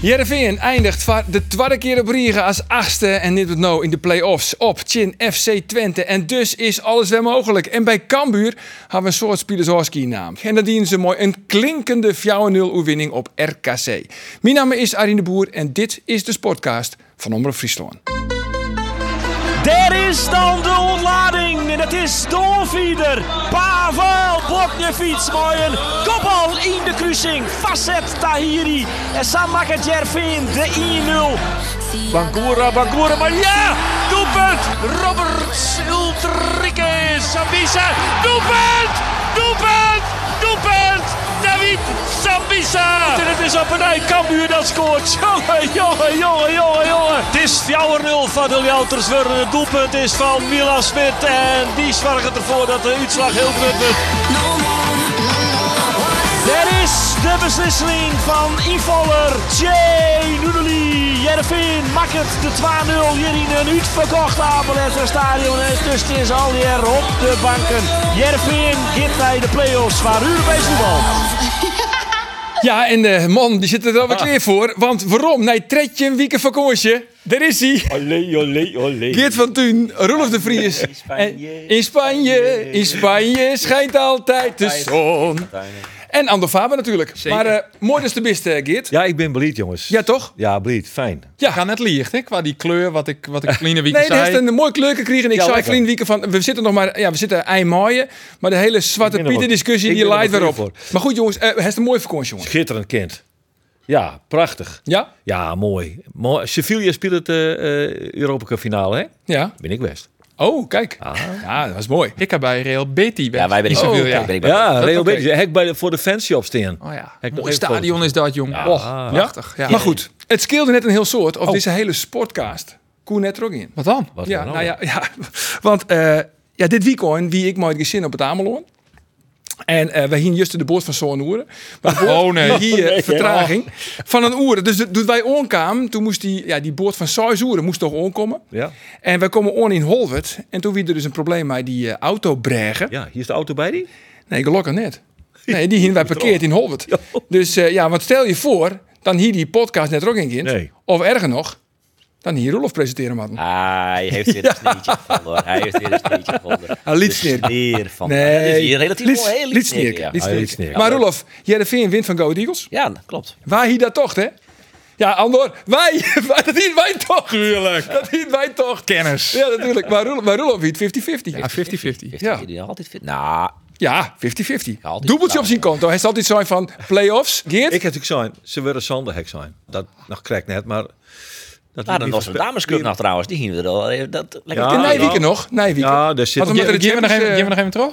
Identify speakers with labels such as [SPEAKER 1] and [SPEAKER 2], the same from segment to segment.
[SPEAKER 1] Jereveen eindigt voor de tweede keer op Riga als achtste en dit wordt nou in de play-offs op Chin FC Twente. En dus is alles weer mogelijk. En bij Cambuur hebben we een soort Spielersowski naam. En dat dienen ze mooi een klinkende 4-0 oewinning op RKC. Mijn naam is Arine de Boer en dit is de Sportcast van Omroep Friesland.
[SPEAKER 2] Daar is dan de ontlading en het is doorvieder. Pavel Boknefiets mooi een kopbal in de kruising. Facet Tahiri en Sam maakt Jervin de 1-0. Bangura, Bangura, maar ja! Doelpunt! Robert Ultrike Sambisa. Doelpunt! Doelpunt! Doelpunt! David Sambisa! En het is op een ei, Cambuur dat scoort. Jongen, jongen, jongen, jongen, jongen. Het is 4-0 van de Jouterswurren. Het doelpunt is van Milan Smit. En die zorgt ervoor dat de uitslag heel goed wordt. Er is de beslissing van invaller Jay Noedeli. Jervin maakt het de 2-0 hier in een uitverkocht Apelester Stadion. En dus het is alweer op de banken. Jervin gaat bij de play-offs van Europees voetbal.
[SPEAKER 1] Ja, en de man die zit er wel weer klaar voor. Want waarom? Nee, tretje een weekend vakantie. Daar is hij.
[SPEAKER 2] Olé, olé, olé.
[SPEAKER 1] Geert van Tuin, Rolf de Vries. In Spanje, in Spanje, in Spanje schijnt altijd de zon. En Ander Faber natuurlijk. Maar eh, mooi dus de beste, Geert.
[SPEAKER 3] Ja, ik ben blied, jongens.
[SPEAKER 1] Ja, toch?
[SPEAKER 3] Ja, blied. Fijn.
[SPEAKER 1] Ja.
[SPEAKER 4] gaan net licht, hè? Qua die kleur, wat ik, wat ik kleine week
[SPEAKER 1] Nee,
[SPEAKER 4] zei.
[SPEAKER 1] er is een mooi kleur gekregen. En ik
[SPEAKER 3] Ja,
[SPEAKER 1] zei
[SPEAKER 3] lekker.
[SPEAKER 1] Vlien Wieken van, we zitten nog maar, ja, we zitten ei maaien. Maar de hele Zwarte
[SPEAKER 3] Ik ben er
[SPEAKER 1] Pieten
[SPEAKER 3] wel-
[SPEAKER 1] discussie,
[SPEAKER 3] ik
[SPEAKER 1] die
[SPEAKER 3] ben er
[SPEAKER 1] leidt
[SPEAKER 3] wel
[SPEAKER 1] weer op.
[SPEAKER 3] voor.
[SPEAKER 1] Maar goed jongens, eh, hij is een mooie vakantie, jongens.
[SPEAKER 3] Schitterend kind. Ja, prachtig.
[SPEAKER 1] Ja?
[SPEAKER 3] Ja, mooi. mooi. Sevilla speelt het eh eh, Europa Cup finale, hè?
[SPEAKER 1] Ja.
[SPEAKER 3] Ben ik best. Ah.
[SPEAKER 1] Oh, kijk. Ja, dat was mooi.
[SPEAKER 4] Ik heb bij Real Betty. Ja, wij
[SPEAKER 1] Oh, oké.
[SPEAKER 3] Ja, Real
[SPEAKER 1] oké.
[SPEAKER 3] Betis. Hek bij de, voor de fanshop staan.
[SPEAKER 4] Oh ja,
[SPEAKER 3] Heb ik nog
[SPEAKER 4] mooi
[SPEAKER 3] even
[SPEAKER 4] stadion
[SPEAKER 3] foto's.
[SPEAKER 4] is dat, jong. Oh.
[SPEAKER 3] Ja.
[SPEAKER 4] Och, prachtig. Ja. Oh.
[SPEAKER 1] Maar goed, het scheelde net een heel soort of deze hele sportcast. Koen net er ook in.
[SPEAKER 4] Wat dan?
[SPEAKER 3] Wat
[SPEAKER 1] ja,
[SPEAKER 3] dan ook.
[SPEAKER 1] nou ja, ja, want eh, ja, dit weekend wie ik mooi het gezin op het Ameloon. En eh wij hingen juist de boord van zo'n oeren. Maar de boord-
[SPEAKER 4] Oh, nee.
[SPEAKER 1] hier eh,
[SPEAKER 3] Oh.
[SPEAKER 1] vertraging van een oeren. Dus toen wij onkwamen, toen moest die, ja, die boord van zes oeren moest toch onkomen.
[SPEAKER 3] Ja.
[SPEAKER 1] En wij komen on in Holwert. En toen wie er dus een probleem met die eh, autobregen.
[SPEAKER 3] ja, hier is de auto bij die.
[SPEAKER 1] Nee, gelukkig net. Nee, die hingen wij parkeerd in Holwert. Dus eh, ja, want stel je voor, dan hier die podcast net er ook in kind.
[SPEAKER 3] Nee.
[SPEAKER 1] Of erger nog, dan hier Roelof presenteren man.
[SPEAKER 5] Hij heeft weer een sneertje gevonden hoor. Hij heeft weer een sneertje gevonden.
[SPEAKER 1] Een
[SPEAKER 5] De
[SPEAKER 1] liedsneer.
[SPEAKER 5] sneer van...
[SPEAKER 1] Nee.
[SPEAKER 5] Dat is hier relatief
[SPEAKER 1] Lied-
[SPEAKER 5] mooi, hè?
[SPEAKER 1] liedsneer,
[SPEAKER 5] Liedsneer, ja.
[SPEAKER 1] liedsneer.
[SPEAKER 3] Ah, liedsneer.
[SPEAKER 1] Maar Roelof, jij de Veen wint van Go Ahead Eagles.
[SPEAKER 5] Ja, dat klopt.
[SPEAKER 1] Waar hier dat tocht, hè? Ja, Andor, wij, wij- dat hier wij toch.
[SPEAKER 4] Tuurlijk.
[SPEAKER 1] Dat hier wij toch.
[SPEAKER 4] Kennis. Ah,
[SPEAKER 1] Ja, natuurlijk. Maar Roelof, maar Roelof wint 50-50.
[SPEAKER 4] Ja, 50-50.
[SPEAKER 5] Heeft
[SPEAKER 1] Ja.
[SPEAKER 5] ja. hij die nog altijd fit? Nou,
[SPEAKER 1] Ja, 50-50.
[SPEAKER 5] Ja, altijd
[SPEAKER 1] Dubbeltje op
[SPEAKER 5] blauw.
[SPEAKER 1] zijn konto. Hij is altijd zo van play-offs. Geert?
[SPEAKER 3] Ik heb natuurlijk zijn. Ze willen Sander hek zijn. Dat nog krijg ik net, maar... Dat
[SPEAKER 5] nou,
[SPEAKER 3] liep
[SPEAKER 5] de
[SPEAKER 3] niet
[SPEAKER 5] Nostradamus Cup
[SPEAKER 3] verspe-
[SPEAKER 5] nog trouwens. Die gingen we er al. eh, Dat, lekker
[SPEAKER 3] Ja.
[SPEAKER 1] in
[SPEAKER 5] ja.
[SPEAKER 1] Nijwieken nog. Nijwieken.
[SPEAKER 3] Ja, daar zit...
[SPEAKER 1] Wat een-
[SPEAKER 3] Ja,
[SPEAKER 4] Geven we nog even-
[SPEAKER 1] eh,
[SPEAKER 4] geven we nog even terug?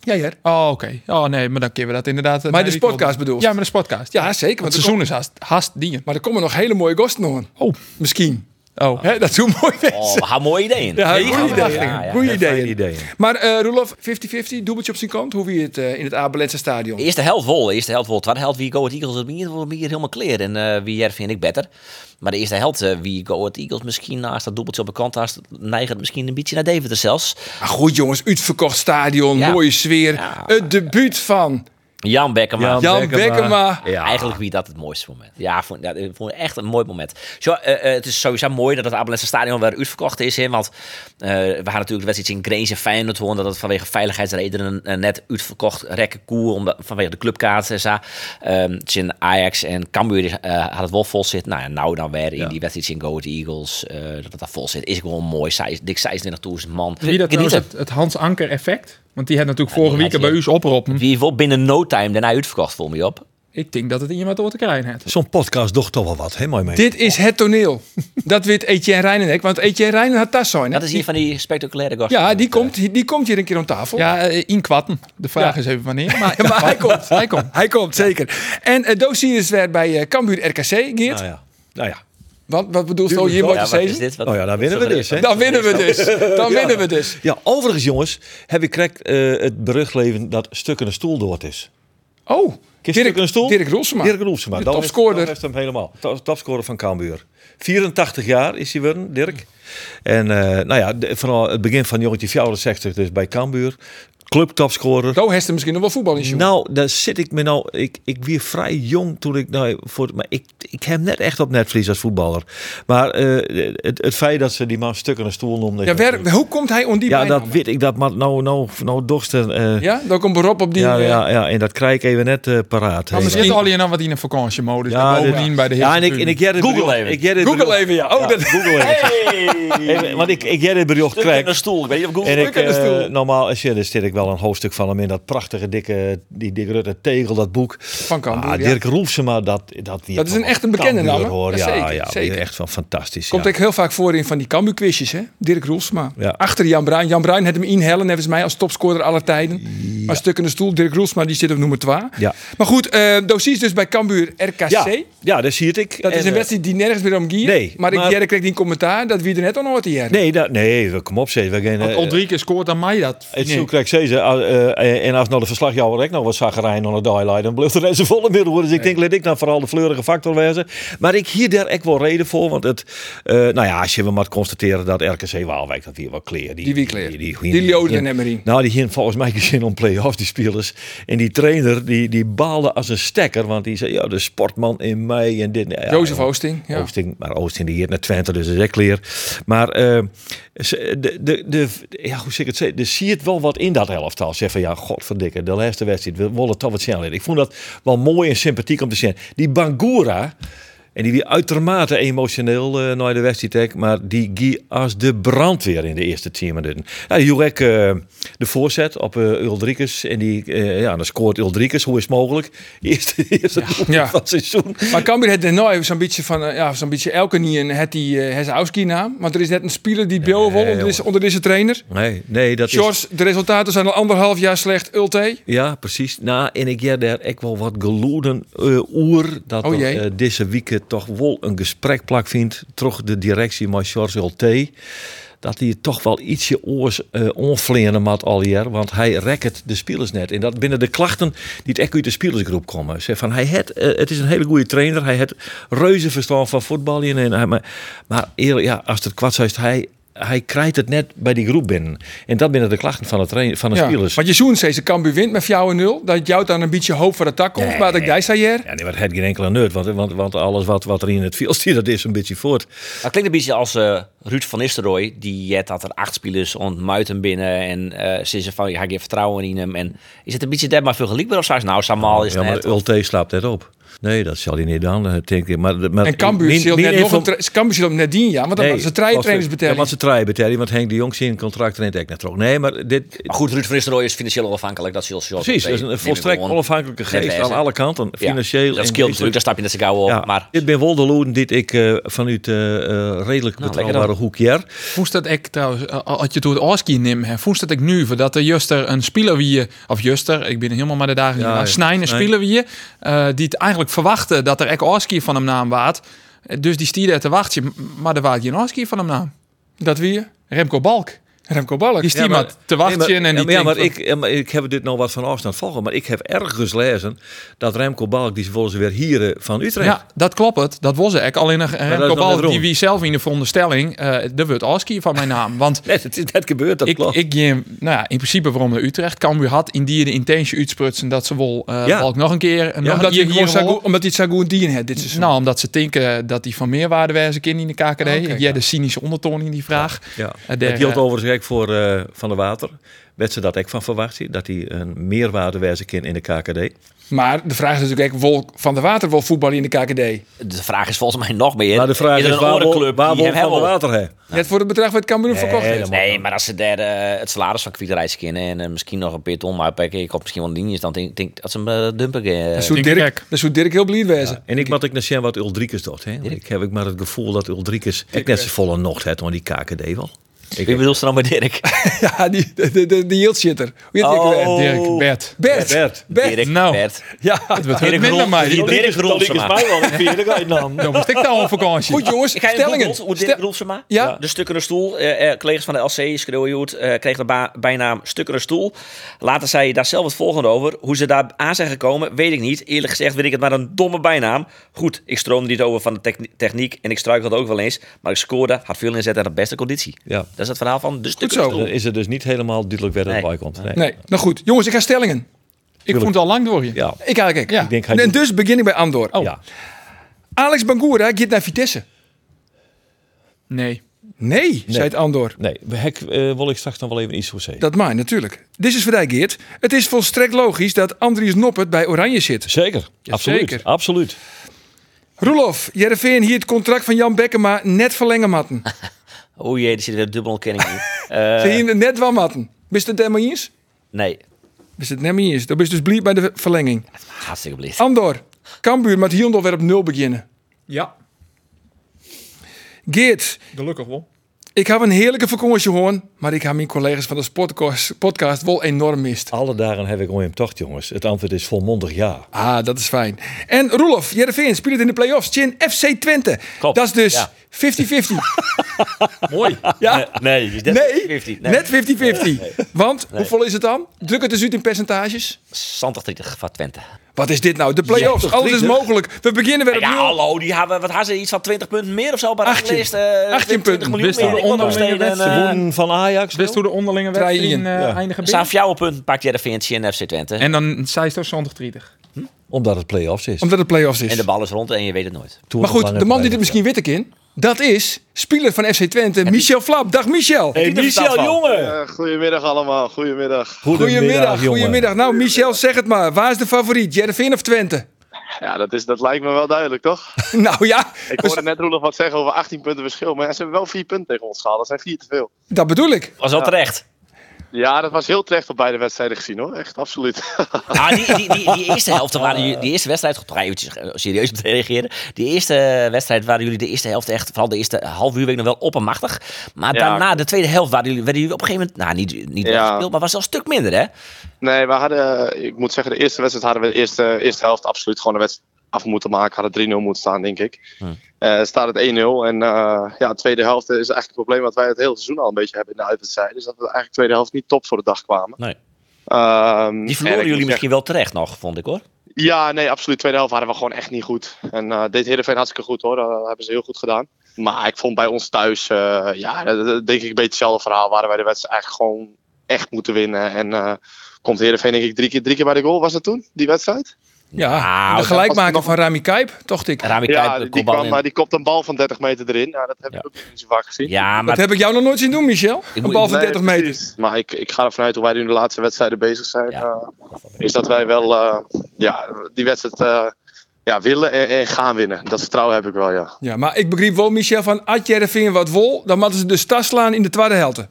[SPEAKER 1] Ja, ja.
[SPEAKER 4] Oh, oké. Oh, nee, maar dan kunnen we dat inderdaad... eh,
[SPEAKER 1] Maar
[SPEAKER 4] na
[SPEAKER 1] de
[SPEAKER 4] die week
[SPEAKER 1] sportcast
[SPEAKER 4] wel-
[SPEAKER 1] bedoelst?
[SPEAKER 4] Ja, maar de sportcast.
[SPEAKER 1] Ja, zeker.
[SPEAKER 4] Het
[SPEAKER 1] Want er
[SPEAKER 4] seizoen is haast, haast dien.
[SPEAKER 1] komen- maar er komen nog hele mooie gasten nog. aan.
[SPEAKER 4] Oh.
[SPEAKER 1] Misschien.
[SPEAKER 4] Oh.
[SPEAKER 1] Hè, dat is hoe mooi wezen.
[SPEAKER 5] Oh, we gaan mooie ideeën.
[SPEAKER 1] Ja,
[SPEAKER 5] Nee,
[SPEAKER 1] goeie
[SPEAKER 5] gaan we-
[SPEAKER 1] ideeën.
[SPEAKER 5] ja, ja.
[SPEAKER 1] Goeie
[SPEAKER 3] fijne
[SPEAKER 1] ideeën.
[SPEAKER 3] ideeën.
[SPEAKER 1] Maar eh Roelof, 50-50, dubbeltje op zijn kant. Hoe wie het eh, in het Abelense stadion?
[SPEAKER 5] Eerste helft vol, eerste helft vol. Tweede helft wie Go Ahead Eagles, dat ben hier- dat ben hier helemaal clear. En eh, wie Jervin en ik beter. Maar de eerste helft eh, wie Go Ahead Eagles misschien naast dat doelpuntje op de kant naast, neigt het misschien een beetje naar Deventer zelfs.
[SPEAKER 1] Maar Ah, goed jongens, uitverkocht stadion,
[SPEAKER 5] Ja.
[SPEAKER 1] mooie sfeer.
[SPEAKER 5] Ja.
[SPEAKER 1] Het debuut van
[SPEAKER 5] Jan Bekkema.
[SPEAKER 3] Jan
[SPEAKER 1] Jan
[SPEAKER 3] Bekkema.
[SPEAKER 1] Bekkema.
[SPEAKER 3] Ja.
[SPEAKER 5] Eigenlijk wie dat het mooiste moment. Ja, vond, ja, ik vond het echt een mooi moment. Zo, eh, eh, het is sowieso mooi dat het Abelense Stadion weer uitverkocht is. Hè, want eh, we hadden natuurlijk de wedstrijd in Grains en Feyenoord horen. Dat het vanwege veiligheidsredenen eh, net uitverkocht rekken koer. Omdat, vanwege de clubkaart en zo. Ehm, het is in Ajax en Cambuur is, eh, had het wel vol zit. Nou ja, nou dan weer in die wedstrijd in Go Ahead Eagles. eh, dat het daar vol zit. Is gewoon mooi. Zij- Dik 26.000 man.
[SPEAKER 4] Wie dat trouwens
[SPEAKER 5] Genieten.
[SPEAKER 4] het, het Hans Anker effect? Want die had natuurlijk
[SPEAKER 5] Ja, die
[SPEAKER 4] vorige week
[SPEAKER 5] had
[SPEAKER 4] bij
[SPEAKER 5] je.
[SPEAKER 4] u oproepen.
[SPEAKER 5] Wie wil binnen no time daarna uitverkocht voor me op.
[SPEAKER 4] Ik denk dat het iemand door te krijgen had.
[SPEAKER 3] Zo'n podcast docht toch wel Oh, wat, hè? Mooi mee.
[SPEAKER 1] Dit is het toneel. dat weet Etienne Rijnenek, want Etienne Rijnen had daar zijn. hè?
[SPEAKER 5] Dat is hier van die spectaculaire gasten.
[SPEAKER 1] Ja, die komt, die komt hier een keer aan tafel.
[SPEAKER 4] Ja, eh, in kwatten. De vraag
[SPEAKER 1] Ja.
[SPEAKER 4] is even wanneer. Maar,
[SPEAKER 1] Maar hij komt.
[SPEAKER 4] hij komt.
[SPEAKER 1] eh, Hij komt, zeker. En uh, Dossier is weer bij eh Cambuur RKC, Geert.
[SPEAKER 3] Nou ja. Nou ja.
[SPEAKER 1] Wat, wat bedoelt je hier
[SPEAKER 5] Ja,
[SPEAKER 1] wordt
[SPEAKER 5] wat is
[SPEAKER 1] je
[SPEAKER 5] dit? Wat-
[SPEAKER 3] Oh ja, dan winnen we dus. Hè?
[SPEAKER 1] Dan winnen we dus. Dan winnen we dus.
[SPEAKER 3] Ja, overigens jongens, heb ik correct eh, het bericht leven dat Stukken een stoel dood is.
[SPEAKER 1] Oh,
[SPEAKER 3] Ken je
[SPEAKER 1] Dirk,
[SPEAKER 3] Stukken een stoel?
[SPEAKER 1] Dirk Roelsema.
[SPEAKER 3] Dirk Roelsema.
[SPEAKER 1] De
[SPEAKER 3] Dan heeft-
[SPEAKER 1] topscorer.
[SPEAKER 3] dan heeft hem helemaal. To- Topscorer van Cambuur. 84 jaar is hij worden, Dirk. En eh, nou ja, de- vanaf het begin van jongetje 64 dus bij Cambuur. Club topscorer.
[SPEAKER 1] Zo heeft er misschien nog wel voetbal in Sjoerd.
[SPEAKER 3] Nou, daar zit ik me nou. Ik, ik weer vrij jong toen ik. Nou, voor, maar ik, ik heb hem net echt op netvlies als voetballer. Maar eh, het, het feit dat ze die man stukken een stoel noemden.
[SPEAKER 1] ja, waar- hoe komt hij on die
[SPEAKER 3] ja, dat
[SPEAKER 1] bijnaam?
[SPEAKER 3] weet ik. Dat maar nou, nou, nou, dorsten. eh, ja,
[SPEAKER 1] Ja, dan komt Rob op die...
[SPEAKER 3] ja,
[SPEAKER 1] eh, Nou,
[SPEAKER 3] ja, en dat krijg ik even net eh, paraat.
[SPEAKER 4] Maar misschien al je dan wat in een vakantiemodus.
[SPEAKER 3] Ja,
[SPEAKER 4] Ja,
[SPEAKER 3] Ah, dit-
[SPEAKER 4] bovendien bij de
[SPEAKER 3] ja, en ik,
[SPEAKER 4] heerlijke
[SPEAKER 3] en ik jij dit
[SPEAKER 5] Google
[SPEAKER 3] bericht-
[SPEAKER 5] even.
[SPEAKER 3] Ik jij dit
[SPEAKER 1] Google
[SPEAKER 3] bericht-
[SPEAKER 1] even, ja. Oh, dat,
[SPEAKER 3] Ja, Google even. Even, Want ik, ik jij dit bericht
[SPEAKER 5] Stuk in
[SPEAKER 3] krijg.
[SPEAKER 5] een stoel. Ik weet niet of Google
[SPEAKER 3] En ik,
[SPEAKER 1] aan de
[SPEAKER 3] eh,
[SPEAKER 1] stoel.
[SPEAKER 3] normaal als je, daar zit ik wel een hoofdstuk van hem in. Dat prachtige, dikke, die dikke Rutte tegel, dat boek.
[SPEAKER 1] Van Cambuur,
[SPEAKER 3] Ah,
[SPEAKER 1] ja.
[SPEAKER 3] Dirk Roelsema, dat, dat, die
[SPEAKER 1] Dat is een echt een bekende naam, hè?
[SPEAKER 3] Hoor.
[SPEAKER 1] Ja,
[SPEAKER 3] Ja,
[SPEAKER 1] zeker,
[SPEAKER 3] ja, die
[SPEAKER 1] zeker.
[SPEAKER 3] echt van fantastisch.
[SPEAKER 1] Komt
[SPEAKER 3] ja.
[SPEAKER 1] ook heel vaak voor in van die Cambu-quizjes, hè? Dirk Roelsma.
[SPEAKER 3] Ja.
[SPEAKER 1] Achter Jan Bruin. Jan Bruin had hem inhellen, hebben ze mij als topscorer aller tijden. Maar stuk in de stoel. Dirk Roelsma, die zit op nummer 2.
[SPEAKER 3] Ja.
[SPEAKER 1] Maar goed, eh dossiers dus bij Cambuur RKC.
[SPEAKER 3] ja, ja, daar zie je het ik.
[SPEAKER 1] Dat
[SPEAKER 3] En,
[SPEAKER 1] is een
[SPEAKER 3] eh,
[SPEAKER 1] wedstrijd die nergens meer om gaat.
[SPEAKER 3] nee,
[SPEAKER 1] maar ik
[SPEAKER 3] maar-
[SPEAKER 1] Jerry kreeg die commentaar dat wie er net aan hoort hier.
[SPEAKER 3] Nee, dat, nee, we- kom op, zeg. We gaan,
[SPEAKER 4] Want
[SPEAKER 3] eh,
[SPEAKER 4] al drie keer scoort dan mij dat.
[SPEAKER 3] het
[SPEAKER 4] Nee.
[SPEAKER 3] zo krijg ik steeds, eh, ah, eh, en als nou de verslagjouwer ook nog wat zagrijn aan het highlight, dan blijft er net zo volle middel worden. Dus ik denk, laat ik dan vooral de fleurige factor wezen. Maar ik hier daar echt wel reden voor, want het, eh, nou ja, als je wel maar constateren dat RKC Waalwijk, dat hier wel kleren.
[SPEAKER 1] Die wie kleer. Die Leeuwarden en Emmerie.
[SPEAKER 3] Nou, die ging volgens mij geen zin om play-offs, die spelers. En die trainer, die, die baalde als een stekker, want die zei, ja, de sportman in mei en dit. Ja,
[SPEAKER 1] Jozef
[SPEAKER 3] ja.
[SPEAKER 1] Oosting. Ja.
[SPEAKER 3] Oosting, maar Oosting die hier naar Twente, dus dat is echt leer. Maar eh, ze- de, de, de, ja, hoe zeg ik het? ze- Er zie je het wel wat in dat elftal. Zeg van ja, godverdikke, de laatste wedstrijd. We willen toch wat sneller. Ik vond dat wel mooi en sympathiek om te zien. Die Bangura, en die weer uitermate emotioneel eh naar de wedstrijd, keek, maar die ging als de brandweer in de eerste team. minuten. Ja, die hield ook, eh, de voorzet op eh Uldrikus. En die, eh, ja, dan scoort Uldrikus. Hoe is het mogelijk? Eerste, eerste doelpunt
[SPEAKER 1] Ja.
[SPEAKER 3] van het seizoen.
[SPEAKER 1] Maar Cambuur had er nooit zo'n beetje van, eh, ja, zo'n beetje elke niet een het die Hesauski naam. Want er is net een speler die Bill won onder,
[SPEAKER 3] jongen.
[SPEAKER 1] deze- onder deze trainer.
[SPEAKER 3] Nee, nee, dat is...
[SPEAKER 1] George, de resultaten zijn al anderhalf jaar slecht. Ulte.
[SPEAKER 3] Ja, precies. Nou, en ik heb daar ook wel wat geloeden eh oer dat
[SPEAKER 1] Oh
[SPEAKER 3] er
[SPEAKER 1] jee.
[SPEAKER 3] eh, deze week toch wel een gesprek plak vindt toch de directie van George Ulte. Dat hij het toch wel ietsje oors eh onvleren mat al hier, want hij rekt de spelers net. En dat binnen de klachten die het echt uit de spelersgroep komen. Zeg van, hij het, het is een hele goede trainer, hij het reuze verstand van voetbal. in En hij, maar, maar eerlijk, ja, als het kwad is, hij, hij krijgt het net bij die groep binnen. En dat binnen de klachten van, het train- van de spelers.
[SPEAKER 1] Want je zoen steeds, Cambuur wint met 4-0. Dat jouw dan een beetje hoop voor de tak komt. Maar dat jij zei hier.
[SPEAKER 3] Ja, nee, maar het heeft geen enkele nut, want, want, want alles wat, wat er in het veld zit, dat is een beetje voort.
[SPEAKER 5] Dat klinkt een beetje als eh, Ruud van Nistelrooy. Die had dat er acht spelers ontmuiten binnen. En eh ze zei van, ja, ik heb vertrouwen in hem. En is het een beetje dat maar vergelijkbaar of zo? Nou, Samal is
[SPEAKER 3] Ja, maar
[SPEAKER 5] net...
[SPEAKER 3] Ulte slaapt net op. Nee, dat zal hij niet doen. dat denk ik. Maar, maar,
[SPEAKER 1] En Cambuur
[SPEAKER 3] min-
[SPEAKER 1] zult
[SPEAKER 3] min
[SPEAKER 1] net nog
[SPEAKER 3] info-
[SPEAKER 1] een tra- Cambuur zult net dien, ja. Want dan
[SPEAKER 3] Nee,
[SPEAKER 1] was ze
[SPEAKER 3] was
[SPEAKER 1] trainers
[SPEAKER 3] het- Ja,
[SPEAKER 1] betalen.
[SPEAKER 3] want ze trein betalen, want Henk de Jong zijn contract rent ook net terug. Nee, maar dit...
[SPEAKER 5] Maar goed, Ruud van Nistelrooy is financieel onafhankelijk. Dat is heel zo.
[SPEAKER 3] Precies, dat is
[SPEAKER 5] Neem
[SPEAKER 3] een
[SPEAKER 5] ik
[SPEAKER 3] volstrekt
[SPEAKER 5] gewoon.
[SPEAKER 3] onafhankelijke
[SPEAKER 5] Net
[SPEAKER 3] geest
[SPEAKER 5] wijzen.
[SPEAKER 3] aan alle kanten.
[SPEAKER 5] Ja,
[SPEAKER 3] Financieel. en
[SPEAKER 5] Dat scheelt natuurlijk,
[SPEAKER 3] geestelijk.
[SPEAKER 5] daar stap je net zo gauw op.
[SPEAKER 3] Ja,
[SPEAKER 5] Maar Nou,
[SPEAKER 3] Dit ben wel de loon die ik eh, vanuit eh, eh, redelijk
[SPEAKER 5] lekker
[SPEAKER 3] betrouwbare
[SPEAKER 5] dan.
[SPEAKER 3] hoek hier.
[SPEAKER 4] Voest dat ik trouwens, eh, als je door het Oski neemt, hè, voest dat ik nu, voordat er juster een speler wie je, of juster, ik ben er helemaal maar de dagen,
[SPEAKER 3] Ja,
[SPEAKER 4] ja,
[SPEAKER 3] ja.
[SPEAKER 4] snijden, een
[SPEAKER 3] Nee.
[SPEAKER 4] speler wie je, eh, die het eigenlijk verwachten dat er ek Oski van hem naam waard. Eh, Dus die stierde er te wachten, m- maar er waard geen Oski van hem naam.
[SPEAKER 1] Dat wie je?
[SPEAKER 4] Remco Balk.
[SPEAKER 1] Remco Balk.
[SPEAKER 4] Die stier
[SPEAKER 3] Ja, maar-
[SPEAKER 4] maar te wachten
[SPEAKER 3] Nee, maar-
[SPEAKER 4] en die
[SPEAKER 3] ja, maar, ja, maar
[SPEAKER 4] denkt
[SPEAKER 3] ik, ja, maar ik heb dit nou wat van afstand volgen. Maar ik heb ergens lezen dat Remco Balk, die ze volgens weer hier eh, van
[SPEAKER 4] van,
[SPEAKER 3] Utrecht.
[SPEAKER 4] ja, dat klopt het. Dat was ik. Alleen een
[SPEAKER 3] is
[SPEAKER 4] Remco
[SPEAKER 3] nog net
[SPEAKER 4] Balk,
[SPEAKER 3] rond.
[SPEAKER 4] die wie zelf in de veronderstelling, eh er wordt Oski van mijn naam. Want
[SPEAKER 3] Net, het is net gebeurd, dat
[SPEAKER 4] ik,
[SPEAKER 3] klopt.
[SPEAKER 4] ik ging, nou ja, in principe waarom naar Utrecht. Cambuur had in die de intentie uitsprutsen dat ze wel eh
[SPEAKER 3] Ja.
[SPEAKER 4] Balk nog een keer. en nog
[SPEAKER 1] Omdat
[SPEAKER 4] een
[SPEAKER 1] hij
[SPEAKER 4] keer
[SPEAKER 1] gewoon
[SPEAKER 4] hier
[SPEAKER 1] Sagoen-
[SPEAKER 4] wil.
[SPEAKER 1] omdat hij het Sagoen dien had dit seizoen.
[SPEAKER 4] Nou, omdat ze denken dat die van meerwaarde wijze kind in de KKD.
[SPEAKER 1] Oh, oké.
[SPEAKER 4] ja, de cynische ondertoon in die vraag.
[SPEAKER 3] nou. ja.
[SPEAKER 4] Eh,
[SPEAKER 3] Het
[SPEAKER 4] der,
[SPEAKER 3] hield
[SPEAKER 4] eh,
[SPEAKER 3] overigens ook voor eh, Van der Water. Werd ze dat ik van verwacht, dat hij een meerwaarde wijze kind in de KKD.
[SPEAKER 1] Maar de vraag is natuurlijk ook, Wolk van der Water wil voetballen in de KKD?
[SPEAKER 5] de vraag is volgens mij nog meer.
[SPEAKER 3] Maar de vraag
[SPEAKER 5] is,
[SPEAKER 3] is,
[SPEAKER 5] er een
[SPEAKER 3] waar
[SPEAKER 5] andere
[SPEAKER 3] wil
[SPEAKER 5] club
[SPEAKER 3] waar
[SPEAKER 5] die
[SPEAKER 3] wil
[SPEAKER 5] hem
[SPEAKER 3] Van der
[SPEAKER 5] helpt?
[SPEAKER 3] Water hè?
[SPEAKER 1] Net voor het bedrag wat Cambuur hem verkocht heeft.
[SPEAKER 5] Nee, maar als ze daar eh, het salaris van Kwieterijs kennen en eh, misschien nog een beetje omhuipen, ik op misschien wel een linie is, dan denk ik dat ze hem eh, dumpen. eh,
[SPEAKER 1] Dat zou
[SPEAKER 4] Denk ik
[SPEAKER 1] Dirk,
[SPEAKER 4] gek.
[SPEAKER 1] dat zou Dirk heel blij wezen.
[SPEAKER 3] En ik moet ook naar zien wat Uldrikus doet. Hè? Want Ik heb ook maar het gevoel dat Uldrikus ook net zijn volle nocht heeft, want die KKD wel.
[SPEAKER 5] Ik bedoel ze dan bij Dirk.
[SPEAKER 1] Ja, die, de, de, de, die hield zit er. Hoe heet die ook weer?
[SPEAKER 5] Oh.
[SPEAKER 4] Dirk Bert.
[SPEAKER 1] Bert.
[SPEAKER 3] Bert.
[SPEAKER 1] Bert.
[SPEAKER 5] Dirk,
[SPEAKER 4] nou.
[SPEAKER 5] Bert.
[SPEAKER 1] Ja.
[SPEAKER 4] Het wordt heel
[SPEAKER 5] Dirk
[SPEAKER 4] minder
[SPEAKER 5] Roel-
[SPEAKER 4] maar.
[SPEAKER 5] Dirk-
[SPEAKER 3] Dat is- dat is
[SPEAKER 5] Roelsema.
[SPEAKER 3] mij wel een vierde uitnam.
[SPEAKER 4] Dan moest ik daar op vakantie.
[SPEAKER 1] Goed jongens,
[SPEAKER 5] Ik ga even
[SPEAKER 1] stellingen.
[SPEAKER 5] googlen hoe
[SPEAKER 1] Stel-
[SPEAKER 5] Dirk Roelsema.
[SPEAKER 1] Ja.
[SPEAKER 5] De stukkende stoel. Eh, eh, collega's van de LC, Schreeuwjoerd, eh kregen de ba- bijnaam stukkende stoel. Later zei je daar zelf het volgende over. Hoe ze daar aan zijn gekomen, weet ik niet. Eerlijk gezegd weet ik het maar een domme bijnaam. Goed, ik stroomde niet over van de techni- techniek en ik struikelde ook wel eens. Maar ik scoorde, had veel inzet en had beste conditie.
[SPEAKER 3] Ja.
[SPEAKER 5] Dat is het verhaal van de stukkende
[SPEAKER 1] zo.
[SPEAKER 5] stoel.
[SPEAKER 3] Dan is het dus niet helemaal duidelijk waar dat
[SPEAKER 5] Nee.
[SPEAKER 3] bij komt. Nee.
[SPEAKER 1] Nee, nou goed. Jongens, ik ga stellingen.
[SPEAKER 4] Ik vond het al lang door je.
[SPEAKER 3] Ja.
[SPEAKER 1] Ik eigenlijk ik.
[SPEAKER 4] Ja.
[SPEAKER 3] Ik denk hij
[SPEAKER 1] En
[SPEAKER 3] doet-
[SPEAKER 1] dus begin ik bij Andor.
[SPEAKER 4] Oh.
[SPEAKER 3] Ja.
[SPEAKER 1] Alex Bangura gaat naar Vitesse.
[SPEAKER 4] Nee.
[SPEAKER 1] Nee, zei het Andor.
[SPEAKER 3] Nee, hek eh, wil ik straks nog wel even iets over zeggen.
[SPEAKER 1] Dat maar, natuurlijk. Dit is Verdijk Geert. Het is volstrekt logisch dat Andries Noppert bij Oranje zit.
[SPEAKER 3] Zeker, absoluut.
[SPEAKER 1] zeker.
[SPEAKER 3] Absoluut.
[SPEAKER 1] Roelof, Jereveen hier het contract van Jan Bekkema net verlengen matten.
[SPEAKER 5] O Oh jee, er zit weer dubbel ontkenning in. Eh,
[SPEAKER 1] Ze hier net wel matten. Wist het helemaal eens?
[SPEAKER 5] nee,
[SPEAKER 1] Wist het helemaal eens? Dan ben je dus blieb bij de verlenging.
[SPEAKER 5] hartstikke blieft.
[SPEAKER 1] Andor, Kambuur met Hiel nog weer op nul beginnen.
[SPEAKER 4] Ja.
[SPEAKER 1] Geert,
[SPEAKER 4] Gelukkig wel.
[SPEAKER 1] ik heb een heerlijke vakantie hoorn, maar ik heb mijn collega's van de podcast, podcast wel enorm mist.
[SPEAKER 3] Alle dagen heb ik om hem tocht, jongens. Het antwoord is volmondig ja.
[SPEAKER 1] Ah, dat is fijn. En Roelof, Jereveen speelt in de play-offs tegen FC Twente.
[SPEAKER 3] Klopt,
[SPEAKER 1] Dat is dus
[SPEAKER 3] ja.
[SPEAKER 1] 50-50.
[SPEAKER 4] Mooi.
[SPEAKER 1] ja?
[SPEAKER 5] Nee, dus dat-
[SPEAKER 1] Nee,
[SPEAKER 5] 50, nee.
[SPEAKER 1] net 50-50. Want, hoeveel is het dan? Druk het eens uit in percentages.
[SPEAKER 5] Zandig 30 van Twente.
[SPEAKER 1] Wat is dit nou? De play-offs.
[SPEAKER 3] Ja, toch
[SPEAKER 1] Alles is
[SPEAKER 3] drieëndertig?
[SPEAKER 1] mogelijk. We beginnen weer
[SPEAKER 5] Ja,
[SPEAKER 1] opnieuw.
[SPEAKER 5] hallo, die hebben, wat hadden ze iets van 20 punten meer of zo? Maar
[SPEAKER 1] 18. 18 punten.
[SPEAKER 5] eh, miljoen
[SPEAKER 4] Wist dat
[SPEAKER 5] meer. Ik word nog
[SPEAKER 4] onderling
[SPEAKER 5] steeds een...
[SPEAKER 3] Ze
[SPEAKER 5] eh,
[SPEAKER 3] wonnen van Ajax.
[SPEAKER 4] Wist hoe de onderlinge wedstrijd
[SPEAKER 1] Draaien.
[SPEAKER 4] eh,
[SPEAKER 3] Ja.
[SPEAKER 4] eindigen binnen?
[SPEAKER 5] Saafjouwe punt pakt Jereveentie en FC Twente. Hm? En,
[SPEAKER 4] En dan zei het toch zondag 30.
[SPEAKER 3] Omdat het play-offs is.
[SPEAKER 1] Omdat het play-offs is.
[SPEAKER 5] de bal is rond en je weet het nooit.
[SPEAKER 3] Toen
[SPEAKER 1] Maar
[SPEAKER 3] nog
[SPEAKER 1] goed,
[SPEAKER 3] langer
[SPEAKER 1] de man
[SPEAKER 3] geleden.
[SPEAKER 1] die dit misschien witte in, dat is speler van FC Twente, Michel Flap. Dag Michel.
[SPEAKER 3] Hey,
[SPEAKER 5] Pieter
[SPEAKER 3] Michel,
[SPEAKER 5] Stadman.
[SPEAKER 3] jongen!
[SPEAKER 6] Eh, goedemiddag allemaal, goedemiddag.
[SPEAKER 1] Goedemiddag,
[SPEAKER 3] jongen.
[SPEAKER 1] goedemiddag. Nou Michel, zeg het maar. Waar is de favoriet? Jervin of Twente?
[SPEAKER 6] Ja, dat, is, dat lijkt me wel duidelijk, toch?
[SPEAKER 1] Nou ja,
[SPEAKER 6] Ik hoorde net Roelof wat zeggen over 18 punten verschil, maar ja, ze hebben wel 4 punten tegen ons gehaald. Dat zijn 4 te veel.
[SPEAKER 1] dat bedoel ik.
[SPEAKER 5] Was wel terecht.
[SPEAKER 6] Ja, dat was heel terecht op beide wedstrijden gezien hoor, echt absoluut.
[SPEAKER 5] Nou, die, die, die, die eerste helft, daar waren jullie- die eerste wedstrijd, toch eventjes eh, serieus op te reageren. Die eerste wedstrijd waren jullie de eerste helft echt, vooral de eerste half uur, weet ik nog wel oppermachtig. Maar
[SPEAKER 6] Ja.
[SPEAKER 5] daarna, de tweede helft, waren jullie, werden jullie op een gegeven moment, nou niet, niet
[SPEAKER 6] Ja.
[SPEAKER 5] weggespeeld, maar was wel een stuk minder, hè?
[SPEAKER 6] Nee, we hadden, eh, ik moet zeggen, de eerste wedstrijd hadden we de eerste, eerste helft absoluut gewoon een wedstrijd af moeten maken. Hadden 3-0 moeten staan, denk ik.
[SPEAKER 5] Hm.
[SPEAKER 6] Eh, staat het 1-0 en eh, ja, de tweede helft is eigenlijk het probleem wat wij het hele seizoen al een beetje hebben in de uitwedstrijden. Is dat we eigenlijk de tweede helft niet top voor de dag kwamen.
[SPEAKER 5] Nee.
[SPEAKER 6] Ehm,
[SPEAKER 5] Die
[SPEAKER 6] en
[SPEAKER 5] verloren
[SPEAKER 6] ik moet
[SPEAKER 5] jullie
[SPEAKER 6] zeggen-
[SPEAKER 5] misschien wel terecht nog, vond ik hoor.
[SPEAKER 6] Ja, nee, absoluut. Tweede helft waren we gewoon echt niet goed. En eh deed Heerenveen hartstikke goed hoor. Dat hebben ze heel goed gedaan. Maar ik vond bij ons thuis, eh, ja, dat, dat denk ik een beetje hetzelfde verhaal. Waren wij de wedstrijd eigenlijk gewoon echt moeten winnen. En eh, komt Heerenveen denk ik drie keer, drie keer bij de goal. Was dat toen, die wedstrijd?
[SPEAKER 1] Ja,
[SPEAKER 5] Nou,
[SPEAKER 1] de
[SPEAKER 5] dat
[SPEAKER 1] gelijkmaker
[SPEAKER 6] was
[SPEAKER 1] van Rami Kuip, dacht ik.
[SPEAKER 5] Rami Kuip,
[SPEAKER 6] ja, die,
[SPEAKER 5] kopbal
[SPEAKER 6] kwam,
[SPEAKER 5] in.
[SPEAKER 6] maar die kopt een bal van 30 meter erin. Nou, dat heb
[SPEAKER 5] Ja.
[SPEAKER 6] ik ook niet zo vaak gezien.
[SPEAKER 5] Ja, Ah, maar
[SPEAKER 1] Dat heb ik jou nog nooit zien doen, Michel. Een
[SPEAKER 5] moet-
[SPEAKER 1] bal van
[SPEAKER 6] Nee,
[SPEAKER 1] 30 meter.
[SPEAKER 6] precies. Maar ik, ik ga ervan uit hoe wij nu de laatste wedstrijden bezig zijn.
[SPEAKER 5] Ja.
[SPEAKER 6] eh, is dat wij wel eh, ja, die wedstrijd eh, ja, willen en, en gaan winnen. Dat vertrouwen heb ik wel, ja.
[SPEAKER 1] Ja, maar ik begreep wel, Michel, van als Jervin wat wol, dan moeten ze de stad slaan in de tweede helft.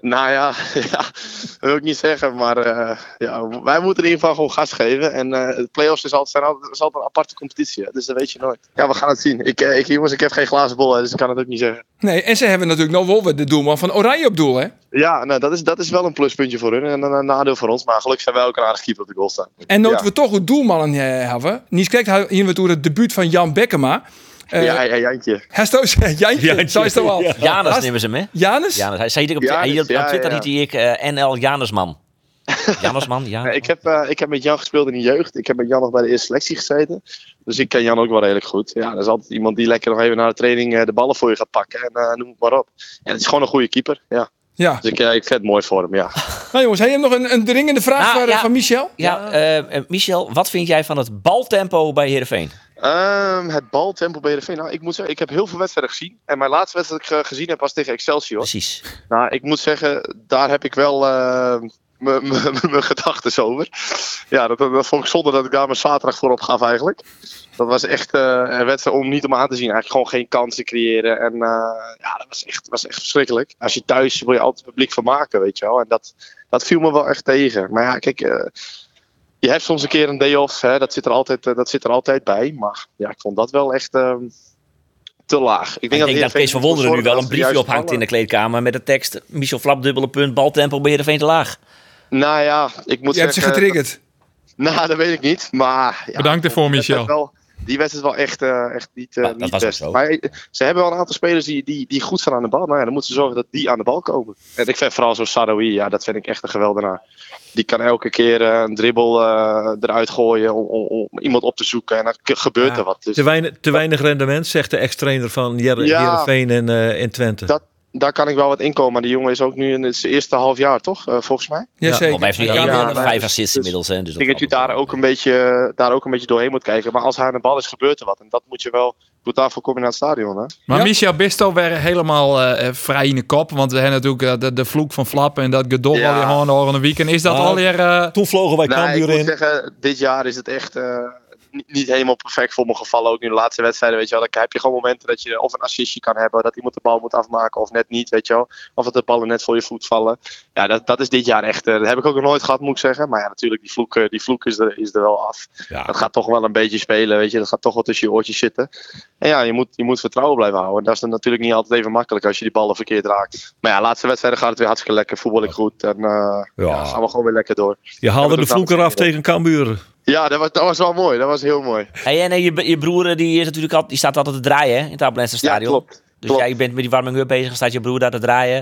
[SPEAKER 6] Nou ja, ja, dat wil ik niet zeggen. Maar eh, ja, wij moeten in ieder geval gewoon gas geven. En eh, de play-offs is altijd, zijn altijd, is altijd een aparte competitie. hè, Dus dat weet je nooit. Ja, we gaan het zien. Ik, eh, ik, jongens, ik heb geen glazen bol, hè, dus ik kan het ook niet zeggen.
[SPEAKER 1] Nee, en ze hebben natuurlijk nog wel weer de doelman van Oranje op doel, hè?
[SPEAKER 6] Ja, nou, dat, is, dat is wel een pluspuntje voor hun en een, een nadeel voor ons. Maar gelukkig zijn wij ook een aardig keeper op de goal staan.
[SPEAKER 1] En noten
[SPEAKER 6] Ja.
[SPEAKER 1] we toch een doelman eh, hebben. Nies kijkt hier weer door het debuut van Jan Bekkema. Eh
[SPEAKER 6] ja, ja, Jantje.
[SPEAKER 1] Hesto, Jantje,
[SPEAKER 3] Jantje.
[SPEAKER 1] zo is het al.
[SPEAKER 5] Janus
[SPEAKER 1] Hast-
[SPEAKER 5] nemen ze mee.
[SPEAKER 1] Janus?
[SPEAKER 5] Janus, hij zei dit op,
[SPEAKER 6] Janus,
[SPEAKER 5] hij, op,
[SPEAKER 6] ja,
[SPEAKER 5] op Twitter
[SPEAKER 6] ja,
[SPEAKER 5] die ik eh, NL Janusman. Janusman, ja.
[SPEAKER 6] Ja, ik, heb, eh, ik heb met Jan gespeeld in de jeugd. Ik heb met Jan nog bij de eerste selectie gezeten. Dus ik ken Jan ook wel redelijk goed. Ja, dat is altijd iemand die lekker nog even na de training eh, de ballen voor je gaat pakken. En eh, noem het maar op. En het is gewoon een goede keeper. Ja.
[SPEAKER 1] Ja.
[SPEAKER 6] Dus ik, eh, ik vind het mooi voor hem, ja.
[SPEAKER 1] Nou jongens, hij heeft nog een, een dringende vraag
[SPEAKER 5] Nou,
[SPEAKER 1] voor, eh,
[SPEAKER 5] ja.
[SPEAKER 1] van Michel.
[SPEAKER 5] Ja, eh, eh, Michel, wat vind jij van het baltempo bij Heerenveen?
[SPEAKER 6] Ehm, het baltempo bij de Nou, ik moet zeggen, ik heb heel veel wedstrijden gezien. En mijn laatste wedstrijd dat ik eh, gezien heb was tegen Excelsior.
[SPEAKER 5] Precies.
[SPEAKER 6] Nou, ik moet zeggen, daar heb ik wel ehm, mijn- mijn mijn gedachten over. Ja, dat, dat vond ik zonde dat ik daar mijn zaterdag voor op gaf eigenlijk. Dat was echt eh, een wedstrijd om niet om aan te zien. Eigenlijk gewoon geen kansen creëren. En eh, ja, dat was echt, was echt verschrikkelijk. Als je thuis wil je altijd het publiek van maken, weet je wel. En dat, dat viel me wel echt tegen. Maar ja, kijk, eh, je hebt soms een keer een day-off. Dat, zit er altijd, eh, dat zit er altijd bij. Maar ja, ik vond dat wel echt... ehm, te laag. Ik denk,
[SPEAKER 5] Ik denk dat
[SPEAKER 6] Heerenveen
[SPEAKER 5] Kees van
[SPEAKER 6] moet
[SPEAKER 5] Wonderen nu
[SPEAKER 6] zorgen dat
[SPEAKER 5] wel
[SPEAKER 6] ze
[SPEAKER 5] een
[SPEAKER 6] de
[SPEAKER 5] briefje
[SPEAKER 6] juiste
[SPEAKER 5] ophangt in
[SPEAKER 6] ballen-
[SPEAKER 5] de kleedkamer met de tekst... Michel Flap, dubbele punt, baltempo bij Heerenveen te laag.
[SPEAKER 6] Nou ja, ik moet
[SPEAKER 1] Je hebt ze
[SPEAKER 6] zeggen...
[SPEAKER 1] getriggerd.
[SPEAKER 6] Nou, dat weet ik niet. Maar ja,
[SPEAKER 4] Bedankt ervoor,
[SPEAKER 6] die wedstrijd
[SPEAKER 4] Michel.
[SPEAKER 6] Wel, die wedstrijd wel echt, eh, echt niet, eh,
[SPEAKER 5] Ja, dat
[SPEAKER 6] niet
[SPEAKER 5] was ook
[SPEAKER 6] best.
[SPEAKER 5] zo.
[SPEAKER 6] Maar eh, ze hebben wel een aantal spelers die, die, die goed zijn aan de bal. Nou ja, dan moeten ze zorgen dat die aan de bal komen. En ik vind vooral zo'n Saroui, ja, dat vind ik echt een geweldenaar. Die kan elke keer eh, een dribbel eh, eruit gooien om, om, om iemand op te zoeken. En dan k- gebeurt
[SPEAKER 3] Ja,
[SPEAKER 6] er wat. Dus
[SPEAKER 3] Te weinig, te weinig rendement, zegt de ex-trainer van Jer
[SPEAKER 6] Ja.
[SPEAKER 3] Heerenveen en, eh, en Twente.
[SPEAKER 6] dat, daar kan ik wel wat in komen. Maar die jongen is ook nu in zijn eerste half jaar, toch? Eh, volgens mij.
[SPEAKER 5] Want
[SPEAKER 1] Jazeker.
[SPEAKER 5] hij heeft nu
[SPEAKER 1] Ja,
[SPEAKER 5] één
[SPEAKER 6] ja,
[SPEAKER 5] goal en
[SPEAKER 6] maar-
[SPEAKER 5] vijf assists
[SPEAKER 6] dus-
[SPEAKER 5] inmiddels. Hè, dus
[SPEAKER 6] Ik denk dat je daar ook, een beetje, eh, daar ook een beetje doorheen moet kijken. Maar als hij aan de bal is, gebeurt er wat. En dat moet je wel... Goed, daarvoor kom je naar het stadion, hè?
[SPEAKER 4] Maar
[SPEAKER 1] Ja.
[SPEAKER 4] Michel Bisto werd helemaal eh, eh, vrij in de kop. Want we hebben natuurlijk eh, de, de vloek van Flap en dat Godol
[SPEAKER 6] Ja.
[SPEAKER 4] al die handen over een weekend. Is dat
[SPEAKER 3] Maar-
[SPEAKER 4] alweer... eh,
[SPEAKER 3] Toen vlogen wij
[SPEAKER 6] Nou, ik
[SPEAKER 3] Cambuur
[SPEAKER 6] moet
[SPEAKER 3] in.
[SPEAKER 6] zeggen, dit jaar is het echt eh, niet, niet helemaal perfect voor mijn gevallen. Ook nu de laatste wedstrijden, weet je wel. Dan heb je gewoon momenten dat je of een assistje kan hebben, dat iemand de bal moet afmaken of net niet, weet je wel. Of dat de ballen net voor je voet vallen. Ja, dat, dat is dit jaar echt, eh, dat heb ik ook nog nooit gehad, moet ik zeggen. Maar ja, natuurlijk, die vloek, eh, die vloek is, er, is er wel af.
[SPEAKER 3] Ja.
[SPEAKER 6] Dat gaat toch wel een beetje spelen, weet je. Dat gaat toch wel tussen je oortjes zitten. En ja, je moet, je moet vertrouwen blijven houden. En dat is dan natuurlijk niet altijd even makkelijk als je die ballen verkeerd raakt. Maar ja, laatste wedstrijden gaat het weer hartstikke lekker. Voetbal ik goed en eh, ja, gaan we gewoon weer lekker door.
[SPEAKER 3] Je haalde
[SPEAKER 6] dat
[SPEAKER 3] de
[SPEAKER 6] doet
[SPEAKER 3] vloek
[SPEAKER 6] Cambuur
[SPEAKER 3] eraf
[SPEAKER 6] wel.
[SPEAKER 3] tegen Cambuur.
[SPEAKER 6] Ja, dat was, dat was wel mooi. Dat was heel mooi.
[SPEAKER 5] Hey, en eh, je, je broer eh, die is natuurlijk al, die staat altijd te draaien hè, in het Abelense
[SPEAKER 6] Ja,
[SPEAKER 5] stadion.
[SPEAKER 6] klopt.
[SPEAKER 5] Dus
[SPEAKER 6] klopt.
[SPEAKER 5] jij bent met die warming up bezig, dan staat je broer daar te draaien.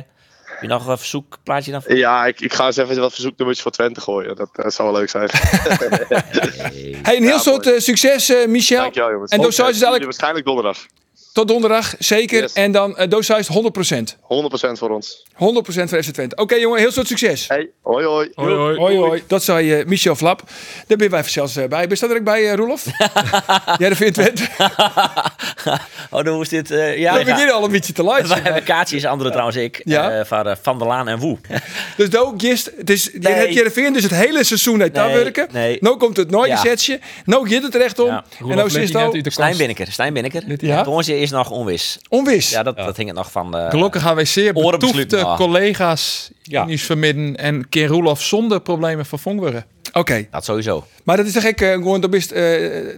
[SPEAKER 5] Heb je nog een verzoekplaatje dan?
[SPEAKER 6] Ja, ik, ik ga eens even wat verzoeknummertjes voor Twente gooien. Dat, eh, zou wel leuk zijn.
[SPEAKER 1] Hey, een heel
[SPEAKER 6] Ja,
[SPEAKER 1] soort
[SPEAKER 6] mooi.
[SPEAKER 1] eh, succes, eh, Michel.
[SPEAKER 6] Dankjewel, jongens.
[SPEAKER 1] En
[SPEAKER 6] Ook,
[SPEAKER 1] dan
[SPEAKER 6] eh,
[SPEAKER 1] zou je
[SPEAKER 6] zien jullie
[SPEAKER 1] dadelijk
[SPEAKER 6] Waarschijnlijk donderdag. 100%
[SPEAKER 1] tot donderdag, zeker.
[SPEAKER 6] Yes.
[SPEAKER 1] En dan
[SPEAKER 4] eh,
[SPEAKER 1] uh, Dooshuis 100%. 100%
[SPEAKER 6] voor ons.
[SPEAKER 1] voor FC Twente. Oké jongen, heel soort succes.
[SPEAKER 6] Hey, hoi hoi.
[SPEAKER 4] hoi, hoi.
[SPEAKER 1] Hoi hoi. Dat zei eh, Michel Flap. Daar ben wij zelfs eh, bij. Ben je er ook bij, eh, Roelof? Jij dat vindt het.
[SPEAKER 5] Oh, dan moest dit... eh, ja,
[SPEAKER 1] We
[SPEAKER 5] ja.
[SPEAKER 1] beginnen al een beetje te
[SPEAKER 5] Wij
[SPEAKER 1] light.
[SPEAKER 5] hebben Kaatje is andere trouwens, ik.
[SPEAKER 1] Ja.
[SPEAKER 5] eh, van, eh, van der Laan en Woe.
[SPEAKER 1] Dus daar gist, het is, je
[SPEAKER 5] Nee.
[SPEAKER 1] hebt Jereveen dus het hele seizoen uit daar
[SPEAKER 5] Nee,
[SPEAKER 1] werken.
[SPEAKER 5] nee.
[SPEAKER 1] Nou komt het nooit
[SPEAKER 5] Ja.
[SPEAKER 1] setje. Nou gaat het terecht om.
[SPEAKER 5] Ja.
[SPEAKER 1] En nou zit het al
[SPEAKER 5] Stijn Binneker, Stijn Binneker.
[SPEAKER 1] Ja.
[SPEAKER 5] Ja. Bij ons is nog onwis.
[SPEAKER 1] onwis.
[SPEAKER 5] Ja, dat, dat hing het nog van... eh,
[SPEAKER 4] Gelukkig gaan wij zeer
[SPEAKER 5] Oren besluiten,
[SPEAKER 1] Ah.
[SPEAKER 4] betoefde
[SPEAKER 5] ja.
[SPEAKER 4] collega's
[SPEAKER 3] Ja.
[SPEAKER 4] ja. vermidden en Keer Roelof zonder problemen vervangen worden.
[SPEAKER 1] Oké,
[SPEAKER 5] Dat sowieso.
[SPEAKER 1] maar dat is toch gek. eh, gewoon, dat is eh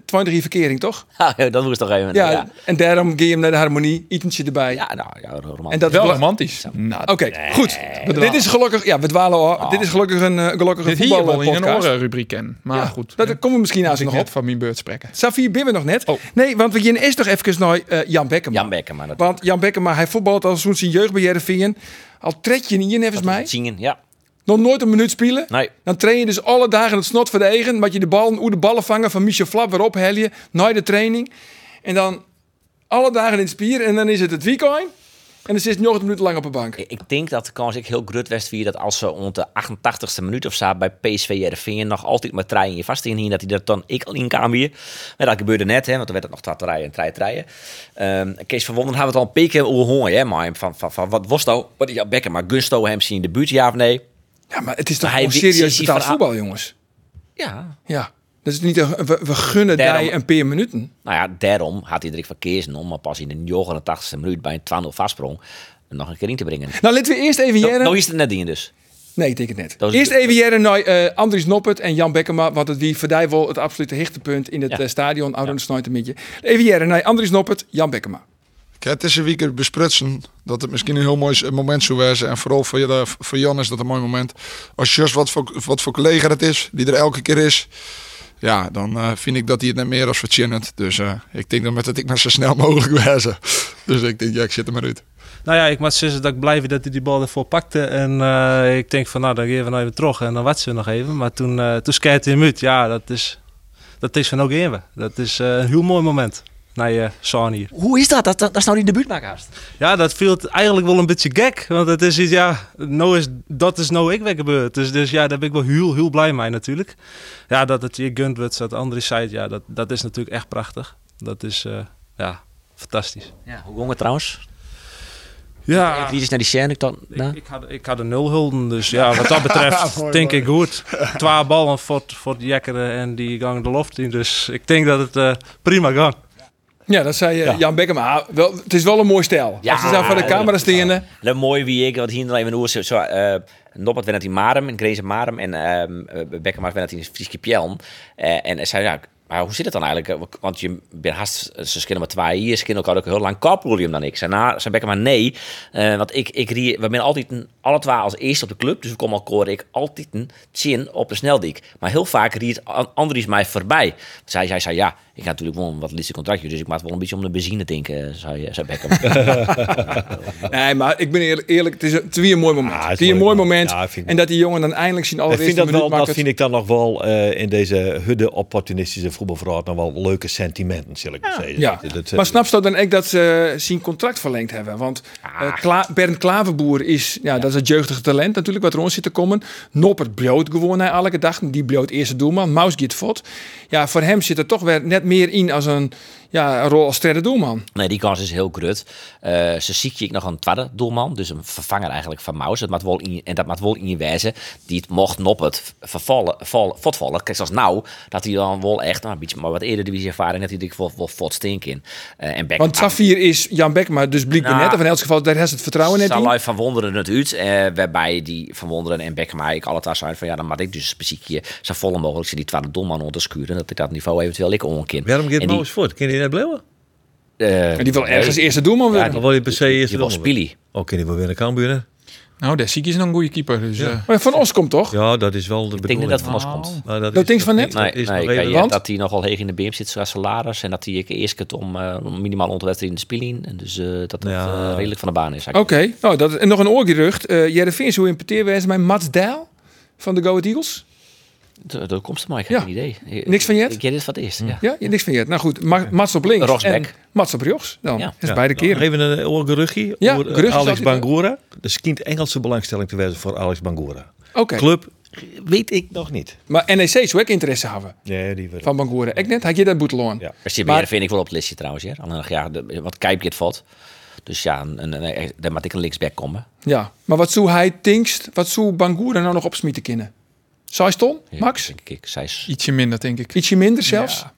[SPEAKER 1] 23 verkering, toch?
[SPEAKER 5] dat moest toch even.
[SPEAKER 1] Ja,
[SPEAKER 5] Ja, ja.
[SPEAKER 1] En daarom ga je hem naar de harmonie. Etentje erbij.
[SPEAKER 5] nou, ja, romantisch.
[SPEAKER 1] En dat
[SPEAKER 4] Wel
[SPEAKER 1] bela-
[SPEAKER 4] romantisch. Mm.
[SPEAKER 1] Oké, goed. Dit is gelukkig, ja, we dwalen al.
[SPEAKER 5] Ah.
[SPEAKER 1] Dit is gelukkig een, eh, gelukkig een
[SPEAKER 4] Dit hier wel in een
[SPEAKER 1] voetbalpodcast.
[SPEAKER 4] orenrubriek kennen. Maar goed,
[SPEAKER 1] Dat komen we misschien als
[SPEAKER 4] ik
[SPEAKER 1] nog op.
[SPEAKER 4] net van mijn beurt spreken.
[SPEAKER 1] Safir Bibben nog net.
[SPEAKER 4] Oh.
[SPEAKER 1] Nee, want we gaan eerst nog even naar eh, Jan Bekkema.
[SPEAKER 5] Jan Bekker, maar dat
[SPEAKER 1] Want Jan Bekkema, hij voetbalt al sinds zijn jeugd bij Heerenveen. Al tred je niet in, volgens mij.
[SPEAKER 5] zingen, ja.
[SPEAKER 1] Nog nooit een minuut spelen.
[SPEAKER 5] Nee.
[SPEAKER 1] Dan train je dus alle dagen het snot voor de eigen. Maar je de bal, hoe de ballen vangen van Michel Flap weer ophel je. Na de training. En dan alle dagen in het spier. En dan is het het weekend. En dan zit hij nog een minuut lang op de bank.
[SPEAKER 5] Ik- Ik denk dat de kans ik heel grut west wie dat als ze rond de 88ste minuut of zo bij PSV Heerenveen nog altijd met treien in je vast in hier dat hij dat dan ik al in kwam hier. Maar dat gebeurde net, hè, want dan werd het nog twat rijden en treien treien. Ehm, Kees van Wonderen hadden we het al een paar keer over gehoord, hè, maar van, van, van wat was nou? Wat is jouw bekken? Maar Gusto hem zien in de buurt, ja of nee?
[SPEAKER 1] Ja, maar het is toch
[SPEAKER 5] Maar hij
[SPEAKER 1] gewoon
[SPEAKER 5] wi-
[SPEAKER 1] serieus
[SPEAKER 5] zie- zie
[SPEAKER 1] betaald
[SPEAKER 5] verhaal-
[SPEAKER 1] voetbal, jongens.
[SPEAKER 5] Ja.
[SPEAKER 1] Ja. Dat is niet een- we, we gunnen
[SPEAKER 5] Daarom-
[SPEAKER 1] daar een paar minuten.
[SPEAKER 5] Nou ja, daarom had hij er ik verkeers om, maar pas in de 89ste minuut bij een 12-0 vastsprong hem nog een keer in te brengen.
[SPEAKER 1] Nou, laten we eerst even
[SPEAKER 5] Nou
[SPEAKER 1] jaren.
[SPEAKER 5] nou is het net in dus.
[SPEAKER 1] Nee, ik denk het net.
[SPEAKER 5] Dat is-
[SPEAKER 1] Eerst even jaren naar eh, Andries Noppert en Jan Bekkema. Want het wie verdij wel het absolute hichtepunt in het
[SPEAKER 5] Ja.
[SPEAKER 1] eh, stadion. Ouderen snijden een beetje. Even jaren naar Andries Noppert, Jan Bekkema.
[SPEAKER 7] Ik heb deze week besprutsen dat het misschien een heel mooi moment zou zijn. En vooral voor, je- voor Jan is dat een mooi moment. Als je wat voor, wat voor collega het is, die er elke keer is. Ja, dan eh, vind ik dat hij het net meer als verzinnend. Dus eh, ik denk dan met dat ik maar zo snel mogelijk wijzen. Dus ik denk, ja, ik zit er maar uit.
[SPEAKER 8] Nou ja, ik moet zeggen dat ik blij ben dat hij die bal ervoor pakte. En eh, ik denk van, nou, dan geven we nou even terug. En dan wat ze nog even. Maar toen, eh toen skeert hij hem uit. Ja, dat is, dat is van ook in we. Dat is eh, een heel mooi moment. Naar je Saan hier.
[SPEAKER 5] Hoe is dat? Dat, dat, dat is nou die debuutmaker haast.
[SPEAKER 8] Ja, dat viel eigenlijk wel een beetje gek. Want het is iets, ja, nou is, dat is nou ik weer gebeurd. Dus, dus ja, daar ben ik wel heel, heel blij mee natuurlijk. Ja, dat het je gunt wordt, dat Andries zei, ja, dat, dat is natuurlijk echt prachtig. Dat is, eh, ja, fantastisch.
[SPEAKER 5] Ja, hoe ging het trouwens?
[SPEAKER 8] Ja,
[SPEAKER 5] Wie is naar die scène? Ik dacht, nou.
[SPEAKER 8] Ik, ik, had, ik had een nul hulden, dus ja, wat dat betreft denk ik goed. Twee ballen voor, het- voor de jekkeren en die gang de loft in. Dus ik denk dat het eh, prima gang.
[SPEAKER 1] Ja, dat zei eh, Jan Bekkema. Ah, wel, het is wel een mooi stijl.
[SPEAKER 5] Ja,
[SPEAKER 1] Als ze daar voor de
[SPEAKER 5] ja,
[SPEAKER 1] camera
[SPEAKER 5] dat is
[SPEAKER 1] stenen.
[SPEAKER 5] Le mooi wie ik, wat hier nog even oer zo. zo eh Noppert werd net in Marem, in Grezen Marem. En ehm Bekkema werd net in Frieske Pjelm. Eh, en hij zei, ja, Maar hoe zit het dan eigenlijk? Eh, Want je bent haast, eh, ze skinnen maar twee hier, ze skinnen elkaar ook heel lang kaproel je hem dan niks. En na, ze bekken maar nee, Eh, want ik, ik rie, we zijn altijd een, alle twee als eerste op de club, dus we komen al koor ik altijd een chin op de sneldik. Maar heel vaak riet An- Andries mij voorbij. Zij zei, zei, ja, ik ga natuurlijk wel een wat liefste contractje, dus ik maak wel een beetje om de benzine denken, eh, zei, zei Beckham.
[SPEAKER 1] Nee, maar ik ben eer- eerlijk, het is, een- het is weer een mooi moment.
[SPEAKER 9] Ah, het is
[SPEAKER 1] het is weer een mooi
[SPEAKER 9] mooi
[SPEAKER 1] moment.
[SPEAKER 9] moment. Ja, vind ik-
[SPEAKER 1] en dat die jongen dan eindelijk zien
[SPEAKER 9] Ik
[SPEAKER 1] allereerste
[SPEAKER 9] vind dat, wel,
[SPEAKER 1] minuut
[SPEAKER 9] dat
[SPEAKER 1] maakt.
[SPEAKER 9] vind ik dan nog wel eh, in deze hudde opportunistische voetbalverhaal nog wel leuke sentimenten, zal ik maar zeggen.
[SPEAKER 1] Ja.
[SPEAKER 9] Dat, dat, eh,
[SPEAKER 1] Maar snap je dan ook dat ze zijn contract verlengd hebben? Want eh, Kla- Bernd Klaverboer is, ja, dat is het jeugdige talent natuurlijk, wat rond zit te komen. Noppert bloot gewoon hij elke dag. Die bloot eerste doelman. Maus gaat vod. Ja, voor hem zit er toch weer net meer in als een, ja, een rol als derde doelman.
[SPEAKER 5] Nee, die kans is heel grut. Eh ze zie ik nog een tweede doelman, dus een vervanger eigenlijk van Maus. Dat maakt wel in, en dat maakt wel in je wijze die het mocht nop het vervallen, val, voortvallen. Kijk, zoals nou, dat hij dan wel echt nou, een beetje maar wat eerder divisie ervaring, dat hij denk ik wel, wel fort stink in. Eh, en Beck,
[SPEAKER 1] Want Safir is Jan Bekma, dus blijkbaar
[SPEAKER 5] Nou,
[SPEAKER 1] net. Of in elk geval, daar heeft het vertrouwen net in.
[SPEAKER 5] Salai van Wonderen het uit. eh, waarbij die van Wonderen en Beckham ik alle thuis zijn van ja, dan maak ik dus speciekje zo volle mogelijk ze die tweede doelman onderskuren. Dat ik dat niveau eventueel ik onkin.
[SPEAKER 3] Waarom gaat
[SPEAKER 5] En die,
[SPEAKER 3] Moos voort? Kun je die net blijven?
[SPEAKER 5] eh,
[SPEAKER 1] En die wil
[SPEAKER 5] nee,
[SPEAKER 1] ergens eerste doelman
[SPEAKER 5] Ja,
[SPEAKER 1] worden.
[SPEAKER 3] Dan wil je per se eerst
[SPEAKER 5] Die was Spili.
[SPEAKER 3] Oké, die wil weer naar Cambuur. hè?
[SPEAKER 4] Nou, daar zie ik is nog een goede keeper. Dus, eh,
[SPEAKER 1] Maar van ons komt toch?
[SPEAKER 3] Ja, dat is wel de
[SPEAKER 5] Ik denk
[SPEAKER 3] bedoeling.
[SPEAKER 5] niet dat van ons komt.
[SPEAKER 3] Maar dat
[SPEAKER 1] Dat
[SPEAKER 3] is
[SPEAKER 1] ding is
[SPEAKER 3] nog
[SPEAKER 1] van
[SPEAKER 3] niet-
[SPEAKER 1] net?
[SPEAKER 5] Nee,
[SPEAKER 3] dat is
[SPEAKER 5] nee,
[SPEAKER 3] nog
[SPEAKER 5] kijk,
[SPEAKER 3] even-
[SPEAKER 5] ja,
[SPEAKER 1] Want?
[SPEAKER 5] dat hij nogal heeg in de beam zit, zoals salaris. En dat hij ik eerst kunt om eh, minimaal onderwedstrijd in de spelen. En dus eh, dat het
[SPEAKER 3] Ja.
[SPEAKER 5] eh, redelijk van de baan is.
[SPEAKER 1] Oké, nou, dat, en nog een oorgerucht. Eh Jereveen hoe importeerwezen bij Mats Dijl van de Go Ahead Eagles.
[SPEAKER 5] Dat, dat komt er maar, ik heb
[SPEAKER 1] Ja.
[SPEAKER 5] geen idee. Ik-
[SPEAKER 1] Niks van Jet?
[SPEAKER 5] Ik ken dit van het
[SPEAKER 3] Hm.
[SPEAKER 5] eerst, ja.
[SPEAKER 1] Ja, je niks van je. Nou goed, Ma- Mats op links
[SPEAKER 5] Rosbeck.
[SPEAKER 1] en Mats op rechts. Dan
[SPEAKER 5] Ja.
[SPEAKER 1] Dat is beide
[SPEAKER 3] Nog
[SPEAKER 1] keren.
[SPEAKER 3] Even een eh, oorgeruchtje
[SPEAKER 1] Ja,
[SPEAKER 3] over, eh,
[SPEAKER 1] geruchtjes
[SPEAKER 3] Alex
[SPEAKER 1] altijd-
[SPEAKER 3] Bangura. Er schijnt Engelse belangstelling te wezen voor Alex Bangura.
[SPEAKER 1] Oké,
[SPEAKER 3] Club weet ik nog niet.
[SPEAKER 1] eh, maar NEC zou ook interesse hebben
[SPEAKER 3] Nee, die weet ik.
[SPEAKER 1] van Bangoeren. Ik net, had je dat boeteloon?
[SPEAKER 3] Ja.
[SPEAKER 5] Maar Sibir
[SPEAKER 1] Maar-
[SPEAKER 5] vind ik wel op het listje trouwens. Ja. Alleen nog, ja, de, wat Kijpje het valt. Dus ja, een, een, een- daar moet ik een linksback komen.
[SPEAKER 1] Ja, maar wat zou hij tinkst, wat zou Bangoeren nou nog opsmieten kunnen? Zes ton,
[SPEAKER 5] Ja,
[SPEAKER 1] max?
[SPEAKER 5] Denk ik, zij is
[SPEAKER 4] ietsje minder, denk ik.
[SPEAKER 1] Ietsje minder zelfs?
[SPEAKER 4] Ja.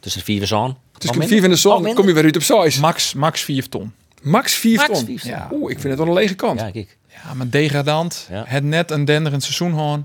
[SPEAKER 5] tussen de vier en zo'n.
[SPEAKER 1] Het is vier van de zon, dan kom je weer uit op zes.
[SPEAKER 4] Max, max 4 ton.
[SPEAKER 1] Max vier
[SPEAKER 5] Max
[SPEAKER 1] ton.
[SPEAKER 5] vier ton.
[SPEAKER 1] Ja. Oeh, ik vind het wel een lege kant.
[SPEAKER 5] Ja, kijk.
[SPEAKER 4] Ja, maar degradant.
[SPEAKER 5] Ja.
[SPEAKER 4] Het net een denderend seizoen hoorn.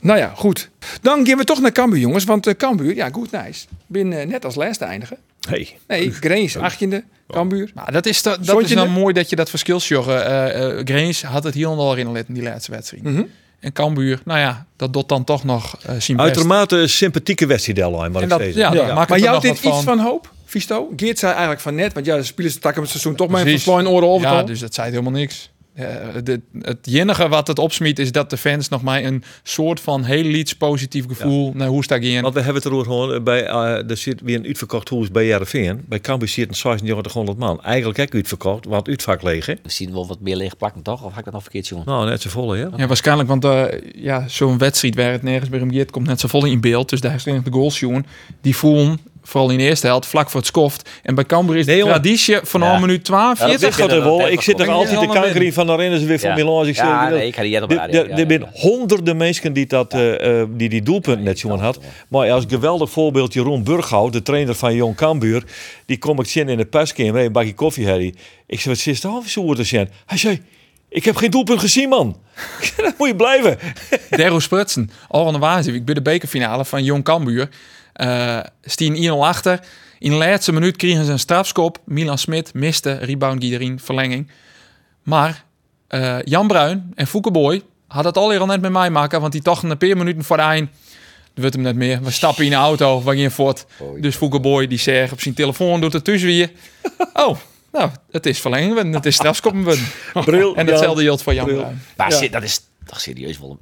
[SPEAKER 1] Nou ja, goed. Dan gaan we toch naar Cambuur, jongens. Want eh, Cambuur, ja, goed, nice. Bin eh, net als laatste eindigen.
[SPEAKER 3] Hey.
[SPEAKER 1] Nee, Grains, achttiende. Cambuur.
[SPEAKER 4] Maar dat is, da- dat
[SPEAKER 1] Zond
[SPEAKER 4] is
[SPEAKER 1] je
[SPEAKER 4] nou
[SPEAKER 1] de-
[SPEAKER 4] mooi dat je dat verschil zag. eh eh Grains had het hier en al in die laatste wedstrijd.
[SPEAKER 1] Mhm.
[SPEAKER 4] En Cambuur, nou ja, dat doet dan toch nog eh zien best.
[SPEAKER 3] Uitermate sympathieke wedstrijd deadline, wat
[SPEAKER 4] En
[SPEAKER 3] ik
[SPEAKER 4] dat,
[SPEAKER 3] steeds
[SPEAKER 4] ja, dat maakt
[SPEAKER 1] Ja. maar
[SPEAKER 4] het er
[SPEAKER 1] jou
[SPEAKER 4] nog
[SPEAKER 1] dit
[SPEAKER 4] wat
[SPEAKER 1] iets van, hoop, Visto? Geert zei eigenlijk van net, want ja, de spelers takken het seizoen toch maar even
[SPEAKER 4] Precies.
[SPEAKER 1] voor in oren over.
[SPEAKER 4] Ja, dus dat zei helemaal niks. Eh, de- het enige wat het opsmiet is dat de fans nog maar een soort van heel iets positief gevoel naar hoe sta ik in.
[SPEAKER 3] Want we hebben het erover gewoon eh, bij, eh er zit weer een uitverkocht hoes bij Jarreveen. Bij Cambuur zit een 1600 man. Eigenlijk ook uitverkocht, want uitvak leeg hè?
[SPEAKER 5] We zien wel wat meer lege plakken, toch? Of ga ik dat nog verkeerd, jongen?
[SPEAKER 3] Nou, net zo volle ja.
[SPEAKER 4] Ja, waarschijnlijk, want eh, ja, zo'n wedstrijd waar het nergens meer om gaat, komt net zo vol in beeld. Dus daar is de goalsjoen. Die voelen, vooral in de eerste helft, vlak voor het skoft. En bij Cambuur is de
[SPEAKER 3] Nee, jongen.
[SPEAKER 4] traditie van
[SPEAKER 5] Ja.
[SPEAKER 4] al minuut 12,
[SPEAKER 5] Ja, dat
[SPEAKER 4] 40.
[SPEAKER 5] weet
[SPEAKER 3] Gaat er wel. Ik zit nog
[SPEAKER 5] Ja,
[SPEAKER 3] altijd de
[SPEAKER 4] allemaal
[SPEAKER 3] kanker in van daarin is weer van
[SPEAKER 5] Ja.
[SPEAKER 3] Milan. Ik zeg,
[SPEAKER 5] Ja,
[SPEAKER 3] dat-
[SPEAKER 5] nee, ik had die net op
[SPEAKER 3] Er-
[SPEAKER 5] de radio,
[SPEAKER 3] er-
[SPEAKER 5] ja,
[SPEAKER 3] Er zijn
[SPEAKER 5] ja,
[SPEAKER 3] honderden mensen die dat, eh, eh, die, die doelpunt net zo had. Maar als geweldig voorbeeld Jeroen Burghout, de trainer van Jong Cambuur, die kom ik zien in de perskamer, hey, een bakje koffie, Harry. Ik zei, wat is het half zo te zien? Hij zei, ik heb geen doelpunt gezien, man. Ik zei, Dan moet je blijven.
[SPEAKER 4] Derro Sprutsen, al aan de waanzin. Ik ben de bekerfinale van Jong Cambuur. Eh Stien 1-0 achter. In de laatste minuut kregen ze een strafskop. Milan Smit miste, rebound Guiderin, verlenging. Maar eh, Jan Bruin en Foukeboy hadden het alweer al net met mij maken. Want die dachten een paar minuten voor de eind. Dat wordt hem net meer. We stappen in de auto, we gaan voort. Dus Foukeboy die zegt op zijn telefoon, doet het tussen weer. Oh, nou, het is verlenging, geworden, het is strafskop. geworden.
[SPEAKER 3] Bril,
[SPEAKER 4] En datzelfde geldt voor Jan Bruin.
[SPEAKER 5] Maar se- dat is toch serieus wel...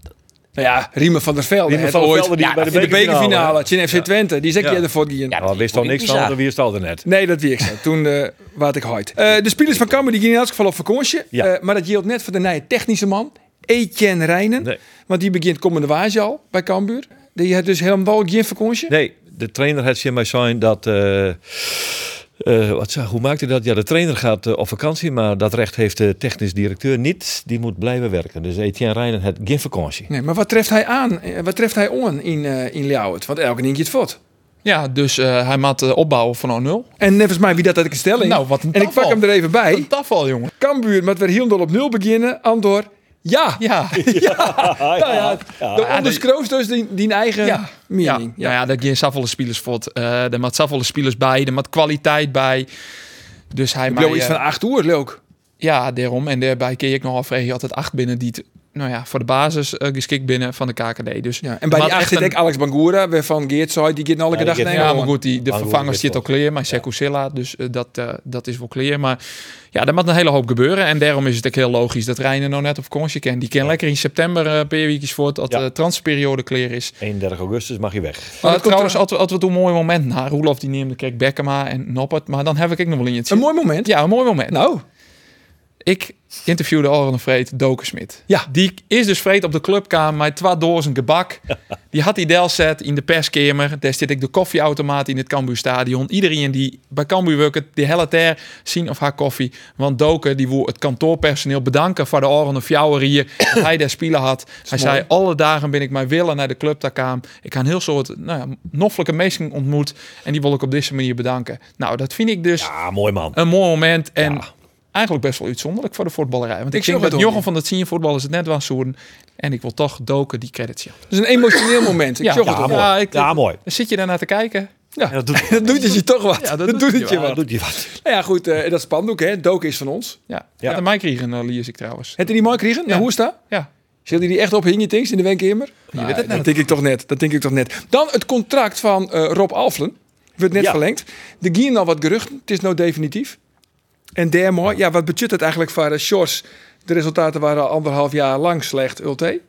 [SPEAKER 1] Nou ja, Riemen van der Velde.
[SPEAKER 3] Riemen
[SPEAKER 1] heeft
[SPEAKER 3] van der
[SPEAKER 1] ooit-
[SPEAKER 3] Velde die
[SPEAKER 1] ja,
[SPEAKER 3] bij de
[SPEAKER 1] in de
[SPEAKER 3] bekerfinale.
[SPEAKER 1] bekerfinale. Chin FC Twente, die zeg
[SPEAKER 3] Nou, Ja.
[SPEAKER 1] je ervoor die
[SPEAKER 5] Ja,
[SPEAKER 3] Nou, wist al
[SPEAKER 5] vond ik
[SPEAKER 3] niks van,
[SPEAKER 5] bizar.
[SPEAKER 3] dan wist al er net.
[SPEAKER 1] Nee, dat wie ik zo. Toen eh waard ik hard. Eh, de spelers van Cambuur die gingen in elk geval op vakantie.
[SPEAKER 3] Ja.
[SPEAKER 1] Eh, maar dat geldt net voor de nieuwe technische man, Etienne Rijnen.
[SPEAKER 3] Nee.
[SPEAKER 1] Want die begint komende waage al bij Cambuur. Die heeft dus helemaal geen vakantie.
[SPEAKER 3] Nee, de trainer had zin mij zijn dat. eh, eh, wat, zou- hoe maakt hij dat? Ja, de trainer gaat eh, op vakantie, maar dat recht heeft de technisch directeur niet. Die moet blijven werken. Dus Etienne Reijnen had geen vakantie.
[SPEAKER 1] Nee, maar wat treft hij aan? Eh, Wat treft hij on in, eh in Ljouwert? Want elke ding het vod.
[SPEAKER 4] Ja, dus eh, hij maakt eh, opbouwen van 0
[SPEAKER 1] En nevens mij wie dat had ik een stelling.
[SPEAKER 4] Nou, wat een
[SPEAKER 1] En ik pak
[SPEAKER 4] tafel.
[SPEAKER 1] hem er even bij.
[SPEAKER 4] Tafel, jongen.
[SPEAKER 1] Kambuur, maar weer heel dol op nul beginnen. Andor, Ja, Nou
[SPEAKER 4] Ja,
[SPEAKER 1] ja, ja. Dan
[SPEAKER 4] Ja,
[SPEAKER 1] onderskroost dus die, die eigen
[SPEAKER 4] Ja. ja, nou
[SPEAKER 1] mening.
[SPEAKER 4] ja, ja, daar gaan zoveel spelers voor. Eh er maakt zoveel spelers bij, er maakt kwaliteit bij. Dus hij
[SPEAKER 1] Ik
[SPEAKER 4] mij,
[SPEAKER 1] bedoel, iets
[SPEAKER 4] eh,
[SPEAKER 1] van acht uur, leuk.
[SPEAKER 4] Ja, daarom. En daarbij keer ik nog afvragen. Je had het acht binnen die, het, nou ja, voor de basis eh, geschikt binnen van de KKD. Dus
[SPEAKER 1] Ja. En bij
[SPEAKER 4] Maar
[SPEAKER 1] die acht
[SPEAKER 4] echt
[SPEAKER 1] zit
[SPEAKER 4] een-
[SPEAKER 1] ik Alex Bangura, waarvan Geert zei, die gaat elke
[SPEAKER 3] die
[SPEAKER 1] dag
[SPEAKER 3] gaat-
[SPEAKER 1] nemen.
[SPEAKER 4] Ja, maar
[SPEAKER 1] man.
[SPEAKER 4] oh, goed, die, de
[SPEAKER 3] Maar goed,
[SPEAKER 4] vervanger
[SPEAKER 3] dit
[SPEAKER 4] zit al
[SPEAKER 3] wordt-
[SPEAKER 4] clear, maar Sekou Silla, dus eh, dat, eh, dat is wel clear. Maar ja, er moet een hele hoop gebeuren. En daarom is het ook heel logisch dat Reiner nog net op congé kan. Die kan lekker in september eh per weekjes voort, dat
[SPEAKER 3] Ja.
[SPEAKER 4] de transferperiode clear is.
[SPEAKER 3] 31 augustus mag je weg.
[SPEAKER 4] Maar
[SPEAKER 1] dat
[SPEAKER 4] trouwens,
[SPEAKER 1] komt
[SPEAKER 4] altijd, altijd een mooi moment na. Roelof die neemt de kijk Bekkema en Noppert. Maar dan heb ik ook nog wel in het
[SPEAKER 1] Een mooi moment.
[SPEAKER 4] Ja, een mooi moment.
[SPEAKER 1] Nou,
[SPEAKER 4] Ik interviewde Oren Vreed Dokersmit.
[SPEAKER 1] Ja.
[SPEAKER 4] Die is dus vreed op de clubkamer met twee dozen gebak. Die had die delset in de perskamer. Daar zit ik de koffieautomaat in het Cambuurstadion. Iedereen die bij Cambuur werkt, die helpt daar zien of haar koffie. Want Doken die wil het kantoorpersoneel bedanken voor de Oren of Jouwer hier. Dat hij daar spelen had. Hij
[SPEAKER 1] mooi.
[SPEAKER 4] zei, alle dagen ben ik mij willen naar de club daar kwam. Ik heb een heel soort nou ja, noffelijke mensen ontmoet. En die wil ik op deze manier bedanken. Nou, dat vind ik dus
[SPEAKER 3] Ah, mooi man.
[SPEAKER 4] een mooi moment. En eigenlijk best wel uitzonderlijk voor de voetballerij. Want ik,
[SPEAKER 1] Ik snap
[SPEAKER 4] denk
[SPEAKER 1] het
[SPEAKER 4] dat
[SPEAKER 1] ook
[SPEAKER 4] Jochem van dat zien voetballers het net wel zoen. En ik wil toch doken die credits. Ja,
[SPEAKER 1] dat is een emotioneel moment. Ik
[SPEAKER 4] Ja.
[SPEAKER 1] zorg
[SPEAKER 4] Ja,
[SPEAKER 1] het
[SPEAKER 3] Ah,
[SPEAKER 1] wel.
[SPEAKER 3] mooi.
[SPEAKER 4] Ja, ik-
[SPEAKER 3] ja, mooi.
[SPEAKER 4] Zit je daarnaar te kijken?
[SPEAKER 3] Ja, dat doet,
[SPEAKER 1] Dat doet het je toch wat.
[SPEAKER 4] Ja,
[SPEAKER 1] dat,
[SPEAKER 4] dat
[SPEAKER 1] doet het je
[SPEAKER 3] ja, dat
[SPEAKER 1] wat.
[SPEAKER 3] doet je wat.
[SPEAKER 1] Nou ja, goed, eh, dat spandoek, hè. Doken is van ons.
[SPEAKER 4] Ja.
[SPEAKER 3] Ja.
[SPEAKER 4] ja. De mij kregen uh, liers ik trouwens.
[SPEAKER 1] Heb je die mooi gekregen? Nou,
[SPEAKER 4] Ja.
[SPEAKER 1] hoe is dat?
[SPEAKER 4] Ja.
[SPEAKER 1] Zit die echt op hing je things in de wenkamer? Nou,
[SPEAKER 4] weet het
[SPEAKER 1] dat denk ik toch net. Dat denk ik toch net. Dan het contract van eh, Rob Alflen. Wordt net
[SPEAKER 3] Ja.
[SPEAKER 1] verlengd. Er gingen al wat geruchten. Het is nou definitief. En daarmee, ja, wat budget het eigenlijk voor uh, Shores? De resultaten waren al anderhalf jaar lang slecht, Ulte.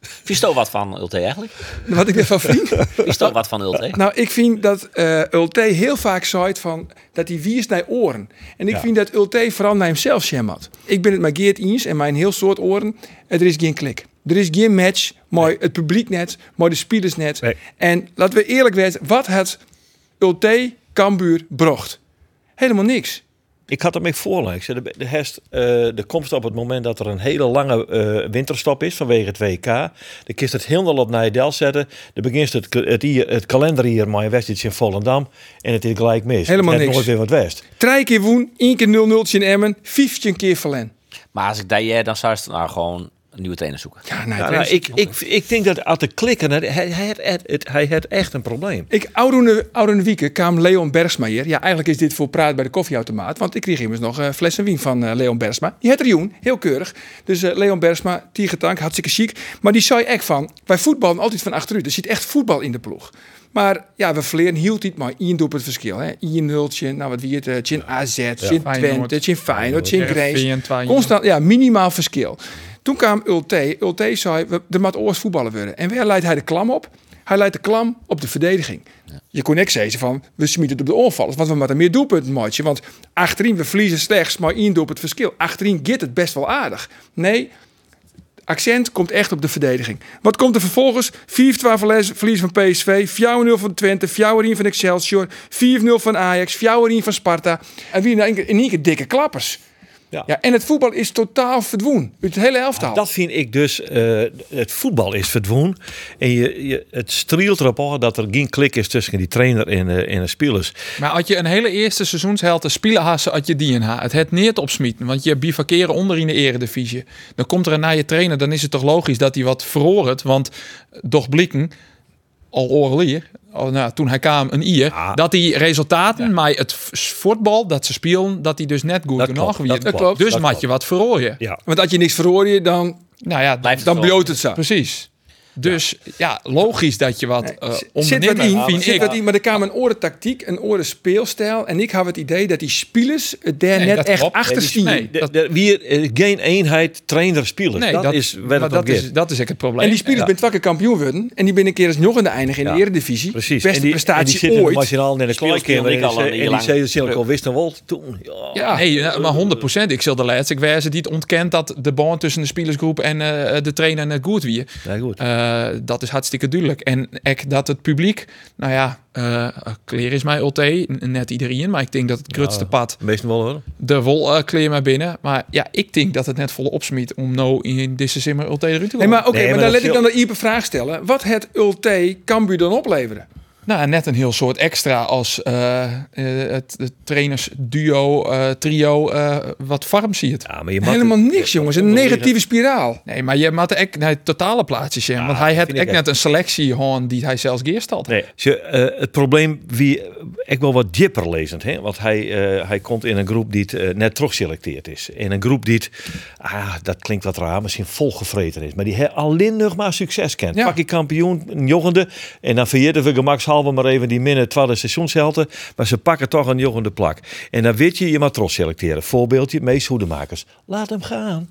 [SPEAKER 5] Visto wat van Ulte eigenlijk?
[SPEAKER 1] Wat ik ervan vind.
[SPEAKER 5] Visto wat van Ulte?
[SPEAKER 1] nou, ik vind dat eh Ulte heel vaak zei van dat hij wiers naar oren. En ik vind dat Ulte vooral naar hemzelf schemat. Ik ben het met Geert eens en mijn heel soort oren. eh, Er is geen klik. Er is geen match. Mooi het publiek net. Mooi de spelers net.
[SPEAKER 3] Nee.
[SPEAKER 1] En laten we eerlijk zijn, wat het Ulte Kambuur brocht? Helemaal niks.
[SPEAKER 3] Ik had hem ik voorleggen. Ik zei, de, de, herst, eh, de komst op het moment dat er een hele lange eh, winterstop is vanwege het WK. Dan kist het helemaal op Nijdel zetten. Dan begint het, het, hier- het kalender hier, maar wedstrijd in Volendam. En het is gelijk mis.
[SPEAKER 1] Helemaal
[SPEAKER 3] Het is
[SPEAKER 1] niks.
[SPEAKER 3] nooit weer wat west.
[SPEAKER 1] Drie keer woen, één keer 0-0 in Emmen, vijftien keer verlen.
[SPEAKER 5] Maar als ik dat jij, dan zou je nou gewoon een nieuwe trainer zoeken.
[SPEAKER 1] Ja, nee,
[SPEAKER 3] Ja,
[SPEAKER 1] Trent,
[SPEAKER 3] nou, ik, ik, ik denk dat aan te klikken, hij, hij, had, het, hij had echt een probleem.
[SPEAKER 1] Ik, oude, oude wieken kwam Leon Bergsma hier. Ja, eigenlijk is dit voor praat bij de koffieautomaat. Want ik kreeg immers nog eh, flessen wien van eh, Leon Bergsma. Die had rioen, heel keurig. Dus eh, Leon Bergsma, tiergetank, hartstikke chic. Maar die zei echt van, wij voetballen altijd van achteruit. Er zit echt voetbal in de ploeg. Maar ja, we verleren hield niet maar één doelpunt verschil. hè. Eén nultje, nou wat wie het, eh, tjin AZ, tjin
[SPEAKER 4] Feyenoord.
[SPEAKER 1] Twente, tjin Feyenoord, tjin Grace.
[SPEAKER 4] Heerenveen, Twente.
[SPEAKER 1] Constant, ja, minimaal verschil. Toen kwam Ulte. Ulte zei, we- er moet oors voetballen worden. En waar leidt hij de klam op? Hij leidt de klam op de verdediging. Je kon niks zeggen van, we smieten het op de onvallers. Want we moeten meer doelpunten maken. Want achterin, we verliezen slechts maar één doelpunt verschil. Achterin gaat het best wel aardig. Nee, accent komt echt op de verdediging. Wat komt er vervolgens? 4-12 verlies verlies van PSV, 4-0 van Twente, 4-1 van Excelsior, 4-0 van Ajax, 4-1 van Sparta. En wie in één keer- in één keer dikke klappers. Ja.
[SPEAKER 3] Ja.
[SPEAKER 1] en het voetbal is totaal verdwoen. Uit het hele elftal.
[SPEAKER 3] Dat vind ik dus, eh, het voetbal is verdwenen. En je, je, het strielt erop aan dat er geen klik is tussen die trainer en, eh, en de spelers.
[SPEAKER 4] Maar had je een hele eerste seizoensheld te spelen hassen, had je die in haar. Het het neer te opsmieten, want je bivakeren onder in de eredivisie. Dan komt er een naaie trainer, dan is het toch logisch dat hij wat verroert. Want doch blikken, al oorlier, al, nou, toen hij kwam een ier, dat die resultaten, maar het v- voetbal dat ze spelen, dat die dus net goed
[SPEAKER 3] Dat
[SPEAKER 4] genoeg
[SPEAKER 3] klopt, dat
[SPEAKER 4] weer.
[SPEAKER 3] klopt,
[SPEAKER 4] Dus
[SPEAKER 3] dat
[SPEAKER 4] maak je wat verrooien.
[SPEAKER 3] Ja.
[SPEAKER 1] Want als je niks verhoorde, dan,
[SPEAKER 4] Nou ja,
[SPEAKER 5] Blijft het
[SPEAKER 1] dan
[SPEAKER 5] wel.
[SPEAKER 1] bloot het zo.
[SPEAKER 4] precies. Dus ja, logisch dat je wat eh
[SPEAKER 1] Zit wat
[SPEAKER 4] onderneemt,
[SPEAKER 1] in,
[SPEAKER 4] vind
[SPEAKER 1] zit
[SPEAKER 4] ik.
[SPEAKER 1] wat in, maar er kwam een oren tactiek, een oren speelstijl. En ik had het idee dat die spelers het daar
[SPEAKER 4] Nee,
[SPEAKER 1] net
[SPEAKER 4] dat
[SPEAKER 1] echt
[SPEAKER 4] klopt. Nee,
[SPEAKER 1] achter
[SPEAKER 4] die-
[SPEAKER 1] stieren.
[SPEAKER 4] nee,
[SPEAKER 3] De- de- Wie eh, geen eenheid trainer-spelers.
[SPEAKER 4] Nee,
[SPEAKER 3] dat, is
[SPEAKER 4] maar
[SPEAKER 3] waar het
[SPEAKER 4] dat
[SPEAKER 3] om
[SPEAKER 4] is,
[SPEAKER 3] gaat.
[SPEAKER 4] dat is ook het probleem.
[SPEAKER 1] En die spelers
[SPEAKER 3] Ja.
[SPEAKER 1] bent wakker kampioen worden. En die ben een keer eens nog in de eindig in de
[SPEAKER 3] Ja,
[SPEAKER 1] Eredivisie.
[SPEAKER 3] Precies.
[SPEAKER 1] Beste
[SPEAKER 3] en die, en die
[SPEAKER 1] prestatie
[SPEAKER 3] zitten
[SPEAKER 1] ooit.
[SPEAKER 3] marginaal in de
[SPEAKER 5] Spelers
[SPEAKER 3] kleedkamer
[SPEAKER 5] speelden
[SPEAKER 3] en
[SPEAKER 5] ik al een
[SPEAKER 3] die-
[SPEAKER 5] heel
[SPEAKER 3] en die
[SPEAKER 5] lang.
[SPEAKER 3] zeiden Silko wist dan wel toen. Ja.
[SPEAKER 4] Ja, nee, nou, maar 100%. Ik zal de laatste ik wijzen die het ontkent dat de band tussen de spelersgroep en eh, de trainer net goed wie. Eh,
[SPEAKER 3] Ja, goed.
[SPEAKER 4] dat is hartstikke duidelijk. En ek dat het publiek, nou ja, eh kleer is mij ulté, n- net iedereen, maar ik denk dat het grootste pad
[SPEAKER 3] Meestal wel hoor.
[SPEAKER 4] de wol eh kleer maar binnen. Maar ja, ik denk dat het net volle opsmiet om nou in deze simmer ulté eruit te
[SPEAKER 1] Nee,
[SPEAKER 4] komen.
[SPEAKER 1] maar oké,
[SPEAKER 3] Nee,
[SPEAKER 1] maar,
[SPEAKER 3] maar
[SPEAKER 1] dan
[SPEAKER 3] dat
[SPEAKER 1] let ik
[SPEAKER 3] scheelt.
[SPEAKER 1] dan de Ipe vraag stellen. Wat het Ulte Cambuur dan opleveren?
[SPEAKER 4] Nou, en net een heel soort extra als eh, eh, het, het trainersduo, eh, trio, eh, wat Farm ziet.
[SPEAKER 3] Ja, maar je mag
[SPEAKER 1] Helemaal niks, jongens. Een negatieve spiraal.
[SPEAKER 4] Nee, maar je maakt echt naar het totale plaatjes in. want hij had
[SPEAKER 3] vind ik
[SPEAKER 4] echt net een selectie gewoon die hij zelfs geerst had.
[SPEAKER 3] Nee, ze, eh, het probleem wie ik wel wat dieper lezend, hè? want hij, eh, hij komt in een groep die het, eh, net terugselecteerd is. In een groep die, het, ah, dat klinkt wat raar, misschien volgevreten is, maar die he- alleen nog maar succes kent.
[SPEAKER 4] Ja.
[SPEAKER 3] Pak je kampioen, een jongende, en dan verjitten we gemakshalve maar even die minder twaalfde seizoenshelden, maar ze pakken toch een jongende plak. En dan weet je, je mag trots selecteren. Voorbeeldje, Mees Hoedemakers. Laat hem gaan.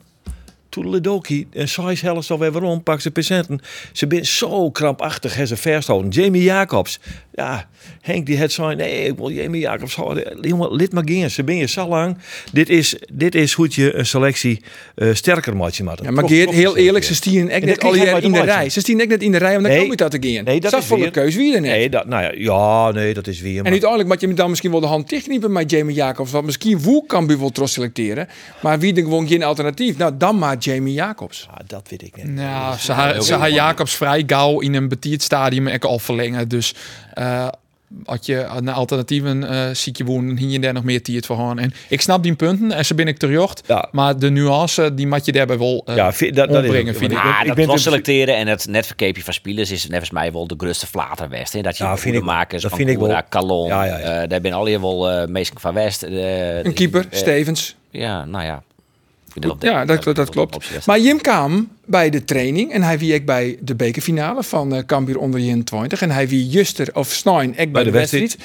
[SPEAKER 3] Toedeledokie. En Sais helft alweer waarom. Pak ze patiënten. Ze zijn zo krampachtig en ze verstoten. Jamie Jacobs. Ja, Henk die het zei. Nee, ik wil Jamie Jacobs houden. Jongen, lid maar gaan. Ze ben je zo lang. Dit is, dit is hoe je een selectie eh, sterker maakt. je maat.
[SPEAKER 1] Ja, maar
[SPEAKER 3] Toch-
[SPEAKER 1] Geert,
[SPEAKER 3] toch
[SPEAKER 1] heel
[SPEAKER 3] een
[SPEAKER 1] eerlijk, ze
[SPEAKER 3] selectie.
[SPEAKER 1] stien echt
[SPEAKER 3] En
[SPEAKER 1] net
[SPEAKER 3] dat
[SPEAKER 1] al
[SPEAKER 3] kreeg hij
[SPEAKER 1] hier
[SPEAKER 3] uit
[SPEAKER 1] in de
[SPEAKER 3] de match.
[SPEAKER 1] rij. Ze stien echt net in de rij, want dan
[SPEAKER 3] Nee,
[SPEAKER 1] kom je dat again.
[SPEAKER 3] nee, dat
[SPEAKER 1] Zat
[SPEAKER 3] is
[SPEAKER 1] voor de
[SPEAKER 3] weer-
[SPEAKER 1] keus wie er net.
[SPEAKER 3] Nee, dat, nou ja, ja, nee, dat is weer.
[SPEAKER 1] En uiteindelijk moet je hem dan misschien wel de hand dichtkniepen met Jamie Jacobs. Want misschien Woe kan wel trots selecteren. Maar wie er gewoon geen alternatief? Nou, dan maar Jamie Jacobs.
[SPEAKER 3] Ah, dat weet ik niet.
[SPEAKER 4] Nou, ze had ze had Jacobs vrij gauw in een betiert stadium en al verlengen. Dus eh, had je naar alternatieven eh ziek je woon, hier en daar nog meer tiert voor gaan. En ik snap die punten en ze ben ik terjocht.
[SPEAKER 3] Ja.
[SPEAKER 4] Maar de nuance, die moet je daarbij wel eh
[SPEAKER 3] Ja, vind- dat- dat is
[SPEAKER 4] ombrengen,
[SPEAKER 3] ook-
[SPEAKER 4] vind ik. dus-
[SPEAKER 5] Ah, dat
[SPEAKER 3] ben
[SPEAKER 5] was
[SPEAKER 3] het-
[SPEAKER 5] selecteren en het netverkeepje van spelers is volgens mij wel de grootste flater West. Hè? Dat je
[SPEAKER 3] Ja, vind ik-
[SPEAKER 5] makers,
[SPEAKER 3] dat vind ik wel.
[SPEAKER 5] Calon,
[SPEAKER 3] Ja, ja, ja.
[SPEAKER 5] eh, daar ben al hier wel eh meestal van West. eh,
[SPEAKER 1] Een keeper,
[SPEAKER 5] eh,
[SPEAKER 1] Stevens.
[SPEAKER 5] Ja, nou ja. Ik bedoel, op de-
[SPEAKER 1] Ja, dat, dat klopt. Maar Jim kwam bij de training en hij wie ik bij de bekerfinale van eh Cambuur onder 21. En hij wie Juster of Snein ek bij de
[SPEAKER 3] de
[SPEAKER 1] wedstrijd.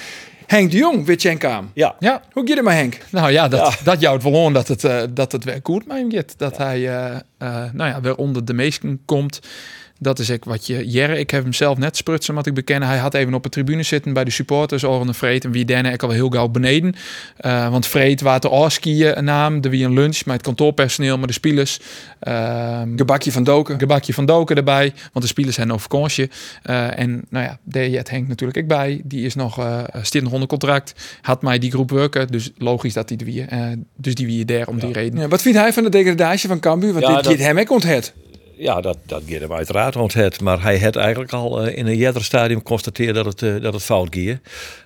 [SPEAKER 1] Henk de Jong weer Chen kwam.
[SPEAKER 3] Ja.
[SPEAKER 4] Ja,
[SPEAKER 1] Hoe gaat het maar Henk?
[SPEAKER 4] nou ja, dat, dat jouwt wel aan dat het, eh, dat het weer goed met hem gaat. Dat hij eh, eh, nou ja, weer onder de meesten komt. Dat is ik wat je... Jerre, ik heb hem zelf net sprutsen, wat ik bekennen. Hij had even op de tribune zitten bij de supporters, Oren en Vreet. En wie denne ik al heel gauw beneden. Eh, want Vreet waar de Orskiën naam. Er wie een lunch met het kantoorpersoneel, maar de spelers. ehm,
[SPEAKER 1] Gebakje van Doken.
[SPEAKER 4] gebakje van Doken erbij, want de spelers zijn over kansje. Eh, en nou ja, daar het Henk natuurlijk ook bij. Die is nog eh stier nog onder contract. Had mij die groep werken, dus logisch dat die er weer. eh, dus die weer daar om die reden.
[SPEAKER 1] Ja, wat vindt hij van de degradage van Cambuur? Want
[SPEAKER 3] Ja,
[SPEAKER 1] dit
[SPEAKER 3] dat-
[SPEAKER 1] gaat hem ook onthet.
[SPEAKER 3] Ja, dat, dat geeft hem uiteraard want het. Maar hij had eigenlijk al eh, in een jeder stadium constateerd dat het, eh, dat het fout ging.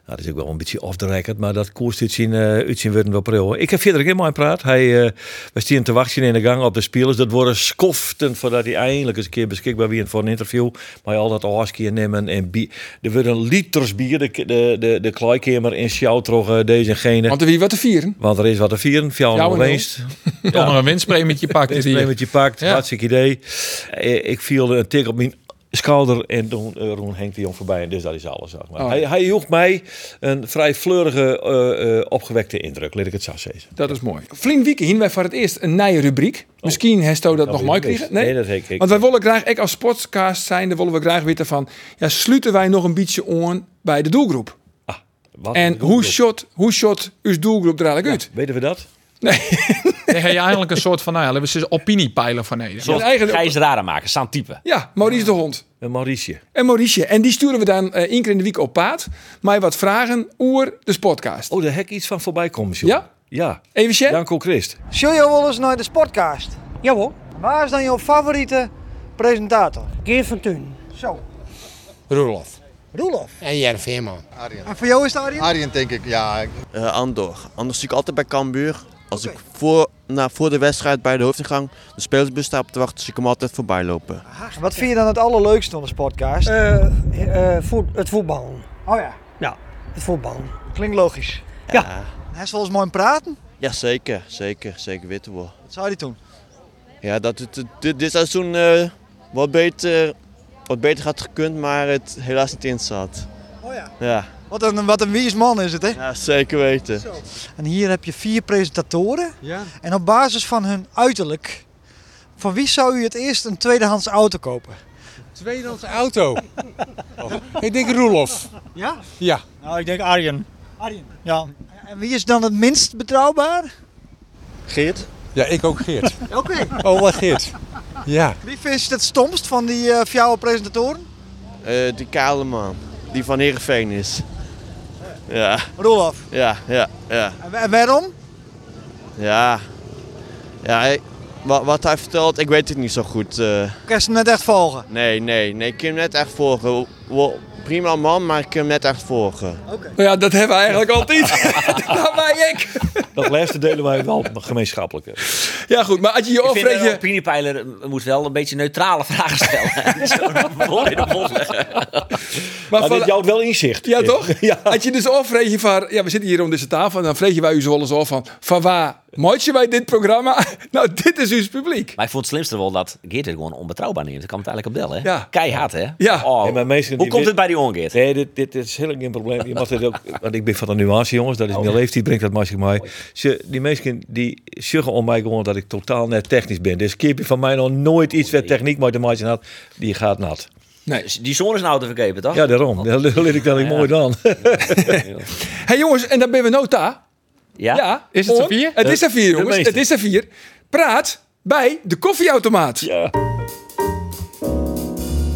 [SPEAKER 3] Nou, dat is ook wel een beetje off the record, maar dat koerst uit zijn, eh uit zijn woorden wel pril. Ik heb verder helemaal in praat. Hij eh, was hier te wachten in de gang op de spelers. Dat worden skoften voordat hij eindelijk eens een keer beschikbaar weer voor een interview. Maar al dat oorskiën nemen en bier. Er worden liters bier, de, de, de, de kleikamer in Sjouwtrog, deze en gene.
[SPEAKER 1] Want er wie wat te vieren.
[SPEAKER 3] Want er is wat te vieren,
[SPEAKER 1] Ja,
[SPEAKER 3] Fjouwen
[SPEAKER 1] maar
[SPEAKER 3] Leens.
[SPEAKER 4] Toch nog een winstpremietje pakt is
[SPEAKER 3] Een
[SPEAKER 4] hier.
[SPEAKER 3] je pakt,
[SPEAKER 4] Ja.
[SPEAKER 3] hartstikke idee. Eh, Ik viel een tik op mijn schouder en toen eh, Roen Henk de Jong voorbij. En dus dat is alles. Zeg maar.
[SPEAKER 1] Oh.
[SPEAKER 3] hij, hij joeg mij een vrij fleurige, eh, eh, opgewekte indruk. Laat ik het zo zeggen.
[SPEAKER 1] Dat is mooi. Flink weekend hien wij voor het eerst een nieuwe rubriek.
[SPEAKER 3] Oh,
[SPEAKER 1] Misschien heeft Sto dat nog
[SPEAKER 3] weer
[SPEAKER 1] mooi
[SPEAKER 3] mis.
[SPEAKER 1] krijgen.
[SPEAKER 3] Nee, dat heb ik-
[SPEAKER 1] Want wij willen graag, ik als podcast zijnde, willen we graag weten van... Ja, sluiten wij nog een beetje aan bij de doelgroep?
[SPEAKER 3] Ah, Wat
[SPEAKER 1] en
[SPEAKER 3] bedoel
[SPEAKER 1] hoe
[SPEAKER 3] je?
[SPEAKER 1] shot, hoe shot uw doelgroep er eigenlijk uit?
[SPEAKER 3] Weten we dat?
[SPEAKER 4] Dan ga je eigenlijk een soort van, nou ja, laten we eens opiniepeiler van Nederland.
[SPEAKER 5] Zoals
[SPEAKER 1] Een eigen-
[SPEAKER 5] Gijs Rademaker, maken, staan type.
[SPEAKER 1] Ja, Maurice de Hond.
[SPEAKER 3] Een Mauritie.
[SPEAKER 1] En Maurice. En die sturen we dan eh één keer in de week op paad. Maar wat vragen oer de podcast.
[SPEAKER 3] Oh, daar heb ik iets van voorbij komen, joh.
[SPEAKER 1] Ja?
[SPEAKER 3] Ja.
[SPEAKER 1] Even Sjen?
[SPEAKER 3] Janko Christ.
[SPEAKER 10] Zul je wel eens naar de sportcast? Jawel. Waar is dan jouw favoriete presentator? Geert van Tuin. Zo.
[SPEAKER 1] Roelof.
[SPEAKER 10] Roelof. En Jan Veerman. En voor jou is het Arjen?
[SPEAKER 11] eh Andor. Andor zie ik altijd bij Cambuur. Als ik voor, nou, voor de wedstrijd bij de hoofdingang de spelersbus sta op te wachten, zie ik hem altijd voorbij lopen.
[SPEAKER 10] Wat vind je dan het allerleukste van de sportcast? Eh, het voetballen. Oh ja? Ja, het voetballen. Klinkt logisch. Ja. Hij is wel eens mooi aan praten.
[SPEAKER 11] Ja, zeker. Zeker. Zeker weten we.
[SPEAKER 10] Wat zou hij toen?
[SPEAKER 11] Ja, dat het het- dit, dit seizoen eh, wat, beter, wat beter had gekund, maar het helaas niet in zat.
[SPEAKER 10] Oh ja.
[SPEAKER 11] Ja,
[SPEAKER 10] Wat een, wat een wies man is het, hè?
[SPEAKER 11] ja zeker weten.
[SPEAKER 10] En hier heb je vier presentatoren. En op basis van hun uiterlijk, van wie zou u het eerst een tweedehands auto kopen?
[SPEAKER 12] Tweedehands auto. Ik denk Roelof.
[SPEAKER 10] Oh. Ja?
[SPEAKER 12] Ja.
[SPEAKER 10] Nou, ik denk Arjen. Arjen? Ja. En wie is dan het minst betrouwbaar?
[SPEAKER 11] Geert?
[SPEAKER 12] Ja, ik ook Geert.
[SPEAKER 10] Oké.
[SPEAKER 12] Oh, wat Geert. Ja.
[SPEAKER 10] Wie vind je het stomst van die eh jouw presentatoren?
[SPEAKER 11] Eh, die kale man. Die van Heerenveen is. Ja,
[SPEAKER 10] Roelof.
[SPEAKER 11] ja, ja, ja.
[SPEAKER 10] En, wa- en waarom?
[SPEAKER 11] Ja, ja hij- wat, wat hij vertelt, ik weet het niet zo goed. eh.
[SPEAKER 10] Ik kan ze net echt volgen.
[SPEAKER 11] Nee, nee, nee. Ik kan hem net echt volgen. Wel, Op een gegeven prima man, maar ik heb hem net echt volgen.
[SPEAKER 1] Nou Ja, dat hebben we eigenlijk altijd. dat kan mij ik.
[SPEAKER 3] Dat laatste delen wij wel gemeenschappelijk.
[SPEAKER 1] Ja, goed. Maar als je je
[SPEAKER 5] Ik vind een
[SPEAKER 1] opvretje...
[SPEAKER 5] opiniepeiler eh, moet wel een beetje neutrale vragen stellen. Niet Zo'n bol in de mond leggen.
[SPEAKER 1] Maar
[SPEAKER 3] Maar
[SPEAKER 1] van-
[SPEAKER 3] dit jouwt wel inzicht.
[SPEAKER 1] Ja, toch? Had je dus afvreeg je van... Ja, we zitten hier om deze tafel. En dan vreet je wij u zo wel eens af van... Van waar mooitje wij dit programma? Nou, dit is uw publiek.
[SPEAKER 5] Maar ik vond het slimste wel dat Geert het gewoon onbetrouwbaar neemt. Dat kan het eigenlijk op bellen. hè?
[SPEAKER 1] Ja.
[SPEAKER 5] Keihard, hè?
[SPEAKER 1] Ja.
[SPEAKER 5] Oh,
[SPEAKER 3] Ja, maar meesten
[SPEAKER 5] hoe
[SPEAKER 3] die
[SPEAKER 5] komt
[SPEAKER 3] wit-
[SPEAKER 5] het bij die ongeert?
[SPEAKER 3] Nee, dit, dit is helemaal geen probleem. Je mag dit ook, want ik ben van de nuance, jongens. Dat is
[SPEAKER 5] Oh.
[SPEAKER 3] mijn leeftijd, brengt dat maar mij. Ze, die mensen die zeggen om mij gewoon dat ik totaal net technisch ben. Dus keer van mij nog nooit iets
[SPEAKER 5] Oh,
[SPEAKER 3] met techniek maar te maken had. Die gaat nat.
[SPEAKER 5] Die zon is nou te vergeven, toch?
[SPEAKER 3] Ja, daarom. Dat leer ik dan ik mooi dan.
[SPEAKER 1] Hé hey, jongens, en dan ben we nota.
[SPEAKER 5] Ja?
[SPEAKER 1] Ja.
[SPEAKER 4] Is het
[SPEAKER 1] om-
[SPEAKER 4] er vier?
[SPEAKER 1] Het is er vier, jongens.
[SPEAKER 3] meeste.
[SPEAKER 1] Het is er vier. Praat bij de koffieautomaat.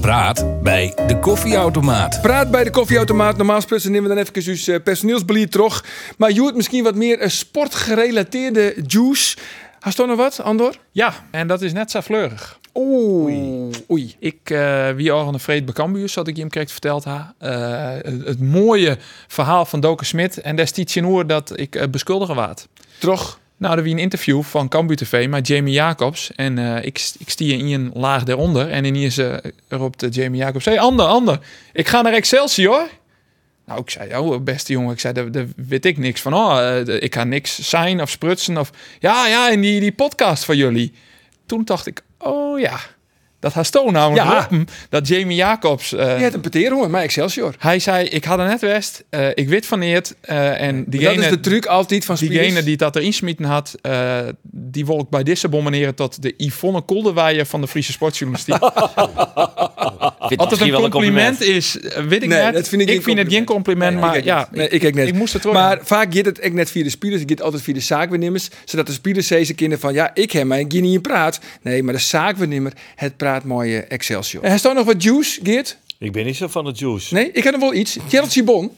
[SPEAKER 13] Praat bij de koffieautomaat.
[SPEAKER 1] Praat bij de koffieautomaat. Normaal gesproken nemen we dan even uw eh, personeelsbeleid terug. Maar Joert, misschien wat meer een sportgerelateerde juice. Had je nog wat, Andor?
[SPEAKER 4] Ja, en dat is net zo fleurig.
[SPEAKER 1] Oei. Oei.
[SPEAKER 4] Ik, eh, wie al een vreed bekambuur, zat ik hem kreeg verteld. Ha. Eh, het, het mooie verhaal van Doken Smit en destijds in oor dat ik eh beschuldigen waard.
[SPEAKER 1] Terug.
[SPEAKER 4] Nou, er was een interview van Cambuur TV met Jamie Jacobs. En eh, ik, ik stier in een laag daaronder. En in is eh roept eh, Jamie Jacobs... Hé, hey, Ander, Ander, ik ga naar Excelsior. Nou, ik zei, oh, beste jongen, ik zei, daar, daar weet ik niks van. Oh, eh, d- ik kan niks zijn of sprutsen of... Ja, ja, en die, die podcast van jullie. Toen dacht ik, oh ja, dat had Stoon namelijk
[SPEAKER 1] Ja.
[SPEAKER 4] roepen, Dat Jamie Jacobs... eh,
[SPEAKER 1] Je hebt een peteer, hoor. Maar Excelsior.
[SPEAKER 4] Hij zei, ik had er net west, eh, ik weet van Eert. eh, en diegene,
[SPEAKER 1] dat is de truc altijd van Spiers.
[SPEAKER 4] Diegene die dat erin smeten had, eh, die wil ik bij deze bombarderen tot de Yvonne Kolderweijer van de Friese sportjournalistiek. Wat ah, het een compliment, is, eh, weet ik
[SPEAKER 1] Nee,
[SPEAKER 4] net.
[SPEAKER 1] dat vind ik geen
[SPEAKER 4] het geen compliment,
[SPEAKER 1] Nee,
[SPEAKER 4] maar
[SPEAKER 1] ik
[SPEAKER 4] ja,
[SPEAKER 1] Nee, ik kijk net.
[SPEAKER 4] ik moest het terug.
[SPEAKER 1] Maar vaak gaat het ook net via de spelers. Het gaat altijd via de zaakwaarnemers. Zodat de spelers zeggen kinderen van... Ja, ik heb mijn niet in praat. Nee, maar de zaakwaarnemer, het praat mooie Excelsior.
[SPEAKER 4] Eh.
[SPEAKER 1] En er staat nog wat juice, Geert?
[SPEAKER 3] Ik ben niet zo van het juice.
[SPEAKER 1] Nee, ik heb nog wel iets. Gerald Sibon.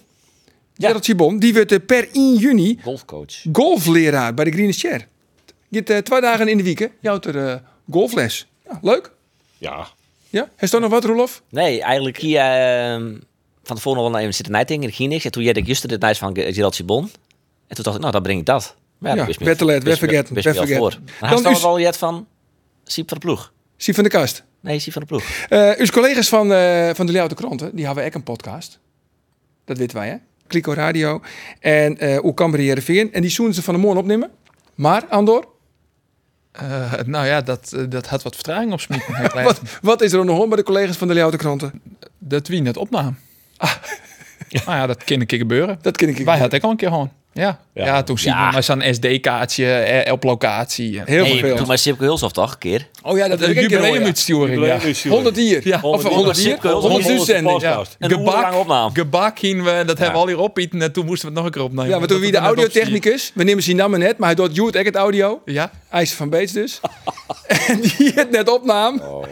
[SPEAKER 1] Gerald Sibon, die wordt eh, per 1 juni
[SPEAKER 5] Golfcoach.
[SPEAKER 1] golfleraar bij de Green Chair. Gaat eh, twee dagen in de week. Jouw er eh, golfles. Ja, leuk.
[SPEAKER 3] Ja.
[SPEAKER 1] Ja? Er staat nog wat, Roelof?
[SPEAKER 5] Nee, eigenlijk hier ehm, van tevoren nog wel even zitten nijting en ik ging niks. En toen jij ik juster dit nice van Ge- Gerald Sibon. En toen dacht ik, nou, dan breng ik dat. Maar
[SPEAKER 1] Ja,
[SPEAKER 5] dat wist me-
[SPEAKER 1] better late, we
[SPEAKER 5] wist me-
[SPEAKER 1] forgetten,
[SPEAKER 5] wist me
[SPEAKER 1] we
[SPEAKER 5] al voor.
[SPEAKER 1] forgetten.
[SPEAKER 5] Maar
[SPEAKER 1] Dan
[SPEAKER 5] hij staat
[SPEAKER 1] is-
[SPEAKER 5] wel jet van Siep van de ploeg.
[SPEAKER 1] Zie van de kast.
[SPEAKER 5] Nee, Siep van de ploeg.
[SPEAKER 1] Eh uw collega's van, eh, van de Leeuwarden Kranten, die hebben ook een podcast. Dat weten wij, hè? Kliko Radio. En eh Oekamber Heerenveen. En die zoenen ze van de morgen opnemen. Maar, Andor,
[SPEAKER 4] Eh, nou ja, dat, eh, dat had wat vertraging op smeten.
[SPEAKER 1] wat, wat is er nog om bij de collega's van de Leeuwarden Kranten?
[SPEAKER 4] Dat wie net opnam. Nou ja, dat kan een keer gebeuren.
[SPEAKER 1] Dat ken ik
[SPEAKER 4] Wij hadden ik al een keer gewoon. Ja, ja. toen zien
[SPEAKER 5] Ja.
[SPEAKER 4] we maar zo'n SD-kaartje eh, op locatie.
[SPEAKER 1] heel
[SPEAKER 5] Nee,
[SPEAKER 1] veel.
[SPEAKER 5] toen maar Sipke Hulshoff toch, een keer.
[SPEAKER 1] Oh ja, dat
[SPEAKER 4] Een
[SPEAKER 1] heb ik een keer hoor, ja.
[SPEAKER 4] jubileumuitsturing, ja.
[SPEAKER 1] 100 hier.
[SPEAKER 4] Ja,
[SPEAKER 1] Of 100 hier.
[SPEAKER 5] Sipke Hulshoff.
[SPEAKER 1] 100 uitzending.
[SPEAKER 3] Ja.
[SPEAKER 1] Ja.
[SPEAKER 5] Een urenlange opname.
[SPEAKER 4] gebak hingen we, en dat hebben we al hier opeten. En toen moesten we het nog een keer opnemen.
[SPEAKER 1] Ja, maar toen
[SPEAKER 4] Dat
[SPEAKER 1] wie de
[SPEAKER 4] we net opsturen.
[SPEAKER 1] audiotechnicus. We nemen zijn namen net, maar hij doet Jude ook het audio.
[SPEAKER 4] Ja,
[SPEAKER 1] IJzer van Beets dus. en die het net opnam.
[SPEAKER 4] Oh.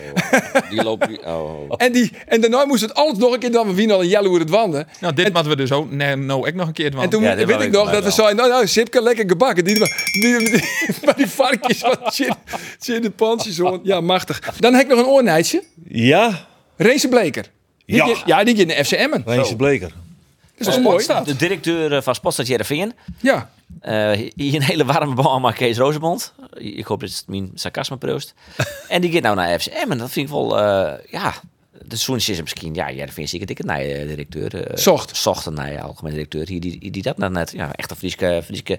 [SPEAKER 5] Die loopt... Oh.
[SPEAKER 1] En, die, en daarna moest het alles nog een keer dan we wien al een jelle hoe het wanden.
[SPEAKER 4] nou dit moeten we dus ook nee, nou, ik nog een keer doen.
[SPEAKER 1] En toen
[SPEAKER 5] Ja, dit
[SPEAKER 1] weet
[SPEAKER 5] wou
[SPEAKER 1] ik
[SPEAKER 5] ik
[SPEAKER 1] nog
[SPEAKER 5] mij
[SPEAKER 1] dat we
[SPEAKER 5] wel.
[SPEAKER 1] zeiden, nou, nou, Sipke, lekker gebakken. Die, die, die, die- maar die varkens van chin- chimpansees, hoor. Ja, machtig. Dan heb ik nog een oornijtje.
[SPEAKER 3] Ja,
[SPEAKER 1] Race Bleker. Die
[SPEAKER 3] Ja.
[SPEAKER 1] keer- ja, die keer in de FC Emmen. Dat
[SPEAKER 3] Rijnse Bleker.
[SPEAKER 1] is
[SPEAKER 5] Oh,
[SPEAKER 1] toch mooi?
[SPEAKER 5] De directeur eh, van Sportstad Jereveen.
[SPEAKER 1] Ja.
[SPEAKER 5] Eh, hier een hele warme bal aan Kees Rozenbond. Ik hoop dat het mijn sarcasme proost. en die gaat nou naar FCM. En dat vind ik wel, eh, ja... De Soens is er misschien, ja, ja, dat vind ik zeker dikke nee, eh, directeur. eh,
[SPEAKER 1] Zocht.
[SPEAKER 5] Zocht een nee, algemeen directeur. Hier, die, die dat nou net, ja, echt een Frieske, Frieske,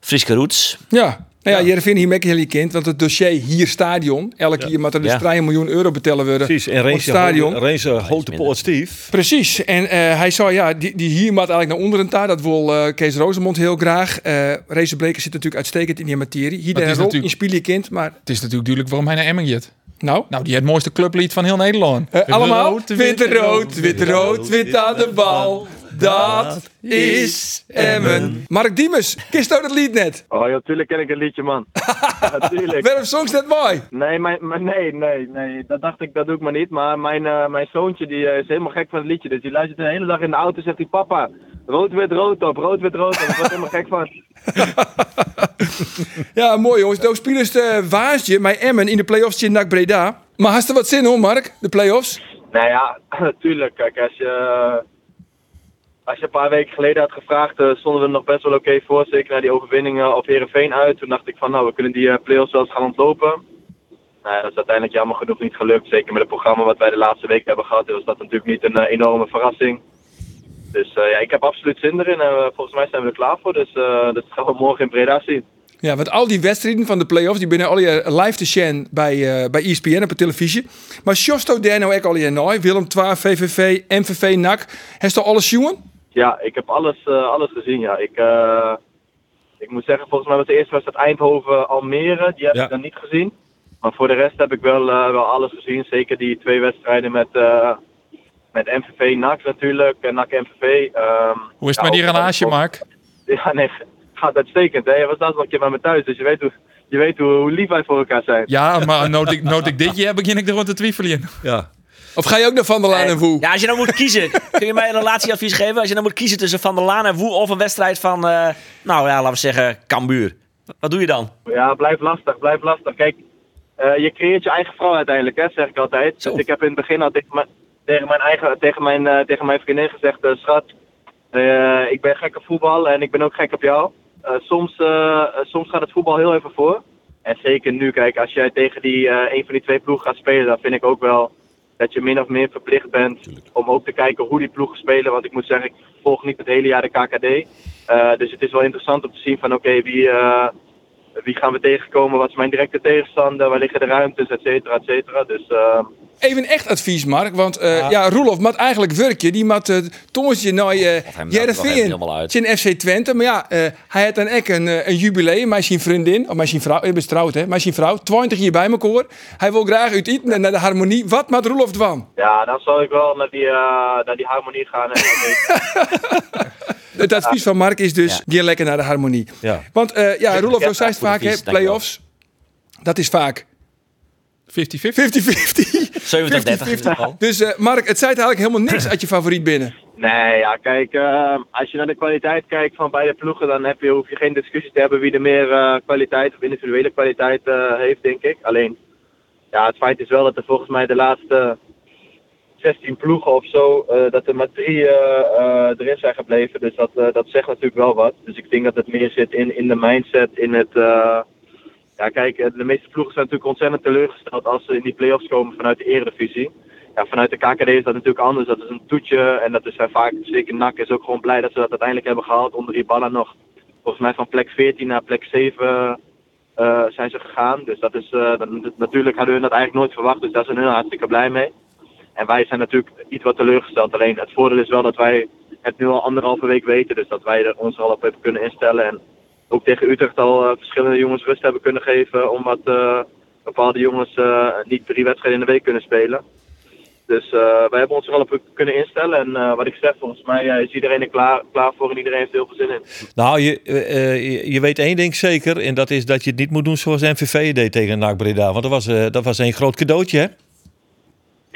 [SPEAKER 5] Frieske roots.
[SPEAKER 1] Ja. Nou ja, Jervin hier merk je heel kind, want het dossier hier stadion, elk jaar moet er dus
[SPEAKER 5] Ja.
[SPEAKER 1] 3 miljoen euro betellen worden.
[SPEAKER 3] Precies. En
[SPEAKER 1] voor het stadion.
[SPEAKER 3] Rijnse Rijnse Hotepoort Stief.
[SPEAKER 1] Precies. En eh, hij zei, ja, die, die hier maat eigenlijk naar onderen taart. Dat wil eh, Kees Rosemond heel graag. Eh Racer Bleker zit natuurlijk uitstekend in die materie. Hier
[SPEAKER 4] Maar het is
[SPEAKER 1] de rol in
[SPEAKER 4] natuurlijk-
[SPEAKER 1] Spieliekind, maar
[SPEAKER 4] het is natuurlijk duidelijk waarom hij naar Emmen gaat.
[SPEAKER 1] nou...
[SPEAKER 4] Nou, die het mooiste clublied van heel Nederland.
[SPEAKER 1] Eh, allemaal wit-rood, wit-rood, wit aan de bal. Dat is Emmen. Mark Diemers, kist nou dat lied net?
[SPEAKER 14] Oh ja, tuurlijk ken ik een liedje, man. Natuurlijk.
[SPEAKER 1] Werf songs net mooi.
[SPEAKER 14] Nee, mijn, mijn- nee, nee, nee. Dat dacht ik, dat doe ik maar niet. Maar mijn, eh, mijn zoontje die, eh, is helemaal gek van het liedje. Dus die luistert de hele dag in de auto en zegt hij... Papa, rood, wit, rood op, rood, wit, rood op. Ik word helemaal gek van.
[SPEAKER 1] Ja, mooi jongens. Doos Spielers eh waasje, mijn Emmen in de play-offs in NAC Breda. Maar had er wat zin hoor, Mark, de play-offs?
[SPEAKER 14] Nou ja, tuurlijk. Kijk, als je, eh, als je een paar weken geleden had gevraagd, eh, stonden we er nog best wel oké voor. Zeker na die overwinning eh, op Herenveen uit. Toen dacht ik van, nou, we kunnen die eh, play-offs wel eens gaan ontlopen. Nou ja, dat is uiteindelijk jammer genoeg niet gelukt. Zeker met het programma wat wij de laatste week hebben gehad, was dat natuurlijk niet een eh, enorme verrassing. Dus eh, ja, ik heb absoluut zin erin en eh, volgens mij zijn we er klaar voor. Dus eh, dat gaan we morgen in Breda zien.
[SPEAKER 1] Ja, want al die wedstrijden van de play-offs, die binnen al je live te zien bij, eh bij ESPN op de televisie. Maar Sjosto Derno ook al je nooi, Willem II, VVV, MVV, NAC. Heeft al alles jongen?
[SPEAKER 14] Ja, ik heb alles, eh, alles gezien. Ja. Ik, eh, ik moet zeggen, volgens mij was de eerste wedstrijd Eindhoven-Almere. Die heb
[SPEAKER 3] Ja.
[SPEAKER 14] ik dan niet gezien. Maar voor de rest heb ik wel, eh, wel alles gezien. Zeker die twee wedstrijden met, eh, met MVV NAC natuurlijk. Eh, En NAC MVV. ehm,
[SPEAKER 4] Hoe is het
[SPEAKER 14] ja,
[SPEAKER 4] met die
[SPEAKER 14] ook-
[SPEAKER 4] relatie, Mark?
[SPEAKER 14] Ja, nee, gaat uitstekend. Hè? Je was laatst nog een keer bij me thuis, dus je weet hoe, je weet hoe, hoe lief wij voor elkaar zijn.
[SPEAKER 4] Ja, maar nood ik, nood ik dit jaar begin ik er rond te twijfelen.
[SPEAKER 3] Ja.
[SPEAKER 1] Of ga je ook naar Van der Laan en Woe?
[SPEAKER 5] Ja, als je nou moet kiezen, kun je mij een relatieadvies geven? Als je nou moet kiezen tussen Van der Laan en Woe of een wedstrijd van, eh, nou ja, laten we zeggen, Cambuur. Wat doe je dan?
[SPEAKER 14] Ja, blijf lastig, blijf lastig. Kijk, eh, je creëert je eigen vrouw uiteindelijk, hè, zeg ik altijd. Dus ik heb in het begin al tegen mijn, tegen mijn, eigen, tegen mijn, eh, tegen mijn vriendin gezegd, eh, schat, eh, ik ben gek op voetbal en ik ben ook gek op jou. Eh, soms, eh, eh, soms gaat het voetbal heel even voor. En zeker nu, kijk, als jij tegen die, eh, een van die twee ploegen gaat spelen, dan vind ik ook wel dat je min of meer verplicht bent om ook te kijken hoe die ploegen spelen. Want ik moet zeggen, ik volg niet het hele jaar de KKD. Eh, dus het is wel interessant om te zien van oké, wie, eh, wie gaan we tegenkomen, wat is mijn directe tegenstander, waar liggen de ruimtes, et cetera, et cetera. Dus eh,
[SPEAKER 1] Even echt advies, Mark. Want eh, ja. Roelof moet eigenlijk werken. Die moet uh, Thomasje naar eh
[SPEAKER 5] nou nog even
[SPEAKER 1] Jereveen.
[SPEAKER 5] helemaal uit.
[SPEAKER 1] in FC Twente. Maar ja, eh, hij had dan ook een, eh, een jubileum. Met zijn vriendin, of met zijn vrouw. Ik ben trouwd, hè. Met zijn vrouw. 20 jaar bij mekaar. Hij wil graag uit eten en naar de harmonie. Wat maakt Roelof dwan?
[SPEAKER 14] ja, dan zal ik wel naar die, eh, naar die harmonie gaan. En,
[SPEAKER 1] Het advies van Mark is dus, ga lekker naar de harmonie.
[SPEAKER 3] Ja.
[SPEAKER 1] Want eh, ja, Roelof, jij zei het
[SPEAKER 3] Goed
[SPEAKER 1] vaak, hè,
[SPEAKER 3] advies, dankjewel.
[SPEAKER 1] play-offs. Dat is vaak
[SPEAKER 4] 50-50.
[SPEAKER 1] 50-50.
[SPEAKER 5] 70-30 in ieder
[SPEAKER 1] 50-50.
[SPEAKER 5] geval.
[SPEAKER 1] Dus eh, Mark, het zei het eigenlijk helemaal niks uit je favoriet binnen.
[SPEAKER 14] Nee, ja, kijk, eh, als je naar de kwaliteit kijkt van beide ploegen, dan heb je, hoef je geen discussie te hebben wie er meer eh, kwaliteit of individuele kwaliteit eh, heeft, denk ik. Alleen, ja, het feit is wel dat er volgens mij de laatste 16 ploegen of zo, eh, dat er maar drie eh, eh, erin zijn gebleven. Dus dat, eh, dat zegt natuurlijk wel wat. Dus ik denk dat het meer zit in, in de mindset, in het... eh, ja, kijk, eh, de meeste ploegen zijn natuurlijk ontzettend teleurgesteld als ze in die play-offs komen vanuit de eredivisie ja, vanuit de KKD is dat natuurlijk anders. Dat is een toetje en dat is eh, vaak, zeker NAC is ook gewoon blij dat ze dat uiteindelijk hebben gehaald. Onder Ibala nog, volgens mij van plek 14 naar plek 7 eh, zijn ze gegaan. Dus dat is, eh, dat- dat- natuurlijk hadden hun dat eigenlijk nooit verwacht, dus daar zijn hun hartstikke blij mee. En wij zijn natuurlijk iets wat teleurgesteld. Alleen het voordeel is wel dat wij het nu al anderhalve week weten, dus dat wij er ons al op hebben kunnen instellen. En ook tegen Utrecht al eh, verschillende jongens rust hebben kunnen geven, omdat eh, bepaalde jongens eh, niet drie wedstrijden in de week kunnen spelen. Dus eh, wij hebben ons er al op kunnen instellen. En eh, wat ik zeg, volgens mij eh, is iedereen er klaar, klaar voor en iedereen heeft er heel veel zin in.
[SPEAKER 3] Nou, je, eh, eh, je- je weet één ding zeker. En dat is dat je het niet moet doen zoals MVV deed tegen NAC Breda. Want dat was, eh, dat was een groot cadeautje, hè?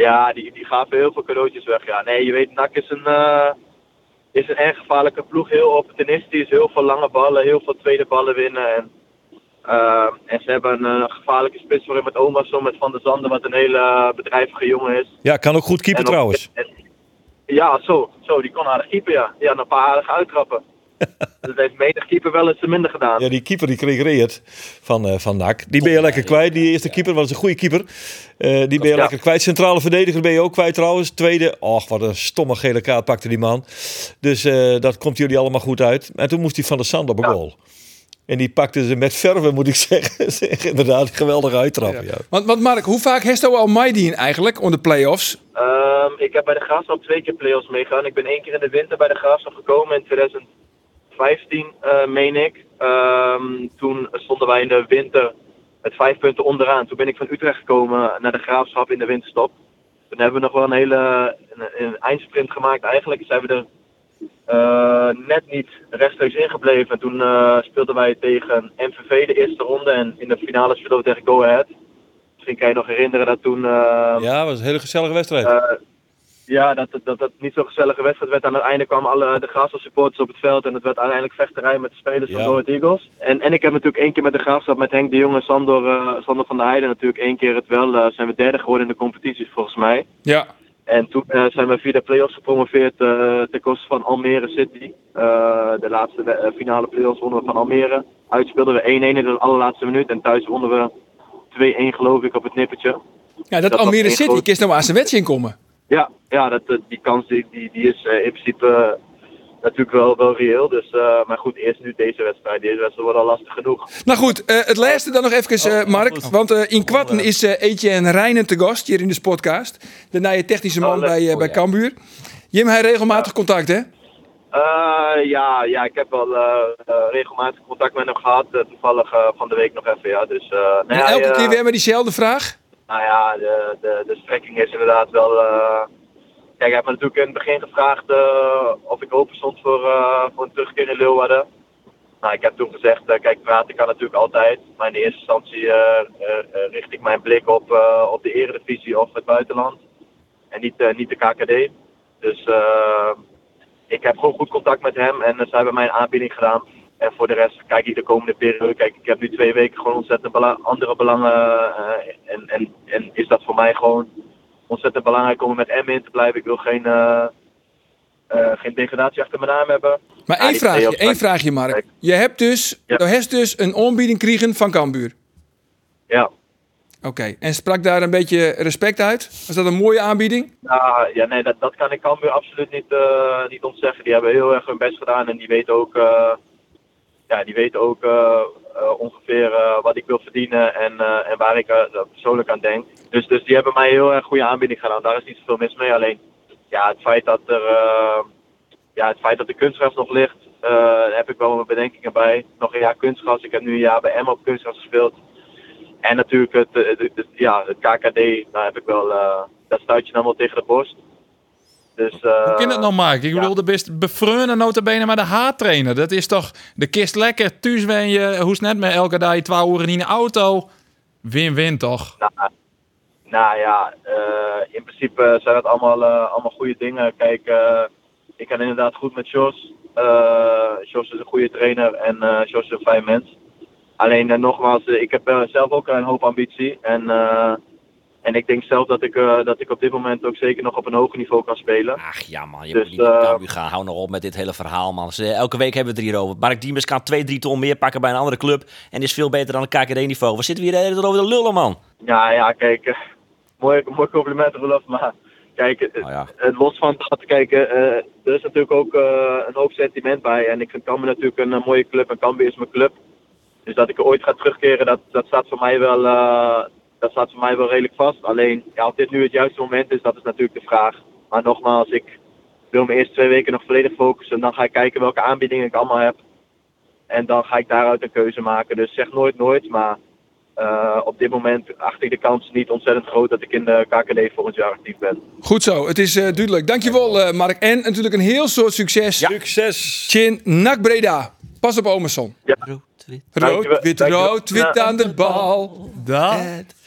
[SPEAKER 14] Ja, die, die gaven heel veel cadeautjes weg. Ja, nee, je weet, NAC is een, eh, is een erg gevaarlijke ploeg. Heel opportunistisch, heel veel lange ballen, heel veel tweede ballen winnen. En, eh, en ze hebben een eh, gevaarlijke spits voor met Omerson, met Van der Zanden, wat een hele bedrijvige jongen is.
[SPEAKER 3] Ja, kan ook goed keeper
[SPEAKER 14] En op-
[SPEAKER 3] trouwens.
[SPEAKER 14] Ja, zo, zo, die kon aardig keeper, ja. Die had een paar aardige uittrappen. dat heeft menig keeper wel eens te minder gedaan.
[SPEAKER 3] Ja, die keeper die kreeg Reert van, eh, van NAC. Die ben je lekker kwijt. Die eerste keeper was een goede keeper. Eh, die ben je lekker kwijt. Centrale verdediger ben je ook kwijt trouwens. Tweede, och wat een stomme gele kaart pakte die man. Dus eh, dat komt jullie allemaal goed uit. En toen moest hij van de Sand op een goal. En die pakte ze met verve, moet ik zeggen. Zeg, Inderdaad, geweldig uittrappen. Ja.
[SPEAKER 1] Want, want Mark, hoe vaak heeft al Maidien eigenlijk onder de play-offs?
[SPEAKER 14] Ehm, ik heb bij de Graafschap twee keer play-offs meegegaan. Ik ben één keer in de winter bij de Graafschap gekomen in 2015, eh, meen ik. Ehm, toen stonden wij in de winter met vijf punten onderaan. Toen ben ik van Utrecht gekomen naar de Graafschap in de winterstop. Toen hebben we nog wel een hele een, een eindsprint gemaakt. Eigenlijk zijn we er eh, net niet rechtstreeks ingebleven. En toen eh, speelden wij tegen MVV de eerste ronde. En in de finale speelden we tegen Go Ahead. Misschien kan je nog herinneren dat toen... eh,
[SPEAKER 3] ja, was een hele gezellige wedstrijd.
[SPEAKER 14] eh, ja, dat het dat, dat niet zo'n gezellige wedstrijd werd. Aan het einde kwamen alle eh, de Graafschap supporters op het veld. En het werd uiteindelijk vechterij met de spelers
[SPEAKER 3] Ja.
[SPEAKER 14] van Go Ahead Eagles. En, en ik heb natuurlijk één keer met de Graafschap, met Henk de Jong en Sander, eh, Sander van der Heijden natuurlijk één keer het wel. eh, zijn we derde geworden in de competities volgens mij.
[SPEAKER 1] Ja.
[SPEAKER 14] En toen eh, zijn we via de play-offs gepromoveerd eh, ten koste van Almere City. Eh, de laatste we- eh, finale play-offs wonnen we van Almere. Uitspeelden we 1-1 in de allerlaatste minuut. En thuis wonnen we 2-1 geloof ik op het nippertje.
[SPEAKER 1] Ja, dat,
[SPEAKER 14] Dat
[SPEAKER 1] Almere
[SPEAKER 14] was één
[SPEAKER 1] City,
[SPEAKER 14] groot-
[SPEAKER 1] kist nou maar aan zijn wedstrijd inkomen.
[SPEAKER 14] Ja, ja dat, eh, die kans die, die, die is eh, in principe eh, natuurlijk wel, wel reëel. Dus, eh, maar goed, eerst nu deze wedstrijd. Deze wedstrijd wordt al lastig genoeg.
[SPEAKER 1] Nou goed, eh, het laatste dan nog even,
[SPEAKER 14] Oh,
[SPEAKER 1] eh, Mark. Want eh, in kwarten is eh, Etienne Rijnen te gast hier in de podcast. De nieuwe technische
[SPEAKER 14] Oh,
[SPEAKER 1] man bij, eh, bij Cambuur. Jim, hij regelmatig contact, hè?
[SPEAKER 14] Eh, ja, ja, ik heb wel eh, eh, regelmatig contact met hem gehad. Eh, toevallig eh, van de week nog even, ja. Dus, eh, nou
[SPEAKER 1] En
[SPEAKER 14] ja,
[SPEAKER 1] elke
[SPEAKER 14] eh,
[SPEAKER 1] keer weer met diezelfde vraag.
[SPEAKER 14] Nou ja, de, de, de strekking is inderdaad wel... eh, Kijk, hij heeft me natuurlijk in het begin gevraagd eh, of ik open stond voor, eh, voor een terugkeer in Leeuwarden. Nou, ik heb toen gezegd, eh, kijk, praten kan natuurlijk altijd. Maar in de eerste instantie eh, eh, eh, richt ik mijn blik op, eh, op de eredivisie of het buitenland. En niet, eh, niet de KKD. Dus eh, ik heb gewoon goed contact met hem en eh, ze hebben mij een aanbieding gedaan. En voor de rest kijk ik de komende periode. Kijk, ik heb nu twee weken gewoon ontzettend bela- andere belangen. eh, en, en, en is dat voor mij gewoon ontzettend belangrijk om er met M in te blijven. Ik wil geen, eh, eh, geen degradatie achter mijn naam hebben.
[SPEAKER 1] Maar
[SPEAKER 14] Ja,
[SPEAKER 1] één
[SPEAKER 14] die
[SPEAKER 1] vraagje,
[SPEAKER 14] play-offs
[SPEAKER 1] één vraagje, Mark. Je hebt dus, je hebt dus een aanbieding gekregen van Cambuur.
[SPEAKER 14] Ja.
[SPEAKER 1] Oké, en sprak daar een beetje respect uit? Was dat een mooie aanbieding?
[SPEAKER 14] Ja, Nou, ja nee, dat, dat kan ik Cambuur absoluut niet, eh, niet ontzeggen. Die hebben heel erg hun best gedaan en die weten ook, eh, ja, die weten ook eh, eh, ongeveer eh, wat ik wil verdienen en, eh, en waar ik eh, persoonlijk aan denk. Dus, dus die hebben mij heel erg goede aanbieding gedaan. Daar is niet zoveel mis mee. Alleen ja, het feit dat er eh, ja, het feit dat de kunstgras nog ligt, eh, daar heb ik wel mijn bedenkingen bij. Nog een jaar kunstgras. Ik heb nu een jaar bij Emma op kunstgras gespeeld. En natuurlijk het, eh, het, het- het- ja, het KKD, daar heb ik wel, eh dat stuit je dan wel tegen de borst. Dus, eh,
[SPEAKER 4] Hoe kan dat nou, Mark? Ik bedoel, de best befreunen nota bene maar de haattrainer. Dat is toch de kist lekker. Thuis wen je, hoe net met elke dag, 12 uur in de auto. Win-win toch?
[SPEAKER 14] Nou, nou ja, eh, in principe zijn dat allemaal, eh, allemaal goede dingen. Kijk, eh, ik kan inderdaad goed met Jos. Eh Jos is een goede trainer en eh Jos is een fijn mens. Alleen eh, nogmaals, eh, ik heb eh, zelf ook een hoop ambitie. En, eh, en ik denk zelf dat ik, eh, dat ik op dit moment ook zeker nog op een hoger niveau kan spelen.
[SPEAKER 5] Ach ja man, Nou, je
[SPEAKER 14] Dus,
[SPEAKER 5] moet niet naar Cambuur gaan. Hou nou op met dit hele verhaal man. Ze- Elke week hebben we het hierover. Mark Diemers kan 2, 3 ton meer pakken bij een andere club. En is veel beter dan het KKD-niveau. Waar zitten we hier de hele tijd over de lullen man?
[SPEAKER 14] Ja, ja, kijk. eh, mooi, mooi compliment, Rolf. Maar kijk, eh, eh, los van dat, kijk, eh, eh, er is natuurlijk ook eh, een hoop sentiment bij. En ik vind Cambuur natuurlijk een eh, mooie club. En Cambuur is mijn club. Dus dat ik er ooit ga terugkeren, dat, dat, staat voor mij wel, eh, dat staat voor mij wel redelijk vast. Alleen, ja, of dit nu het juiste moment is, dat is natuurlijk de vraag. Maar nogmaals, ik wil me eerst twee weken nog volledig focussen. Dan ga ik kijken welke aanbiedingen ik allemaal heb. En dan ga ik daaruit een keuze maken. Dus zeg nooit nooit, maar... Eh, op dit moment acht ik de kans niet ontzettend groot dat ik in eh, de KKD volgend jaar actief ben.
[SPEAKER 1] Goed zo, het is eh, duidelijk. Dankjewel, eh, Mark. En natuurlijk een heel soort succes. Succes. Chin Nak Breda. Pas op Omerson. Rood,
[SPEAKER 4] Dankjewel.
[SPEAKER 1] wit,
[SPEAKER 4] Dankjewel.
[SPEAKER 1] rood, wit
[SPEAKER 4] Ja.
[SPEAKER 1] aan de bal.
[SPEAKER 4] Dat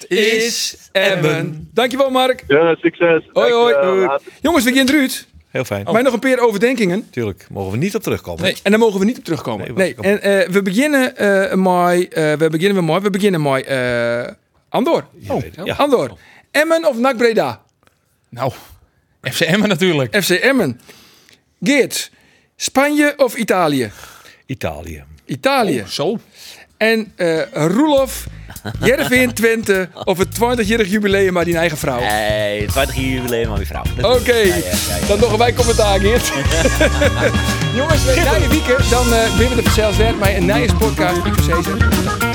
[SPEAKER 1] is Emmen. Dankjewel, Mark.
[SPEAKER 14] Ja, succes.
[SPEAKER 1] Hoi, hoi.
[SPEAKER 3] Dankjewel.
[SPEAKER 1] Hoi. Jongens, we gaan eruit.
[SPEAKER 3] Heel fijn.
[SPEAKER 1] Wij nog een paar overdenkingen.
[SPEAKER 3] Tuurlijk, mogen we niet op terugkomen.
[SPEAKER 1] Nee, en daar mogen we niet op terugkomen. Nee,
[SPEAKER 3] wacht,
[SPEAKER 1] en eh, we beginnen eh mooi. we beginnen weer mooi. We beginnen mooi. eh, Andor. Oh,
[SPEAKER 3] ja.
[SPEAKER 1] Andor. Emmen of NAC Breda?
[SPEAKER 4] Nou, FC Emmen natuurlijk.
[SPEAKER 1] FC Emmen. Geert, Spanje of Italië?
[SPEAKER 3] Italië.
[SPEAKER 1] Italië.
[SPEAKER 4] Oh, zo.
[SPEAKER 1] En eh Roelof, Jervin Twente of het 20-jarig jubileum maar die eigen vrouw.
[SPEAKER 5] Nee, 20 jaar jubileum aan je vrouw.
[SPEAKER 1] Oké, dan nog een wij commentaar, Geert. Jongens, na je weekend, dan eh ben we er vanzelfs weer bij een nieuwe podcast. Ik verzeker.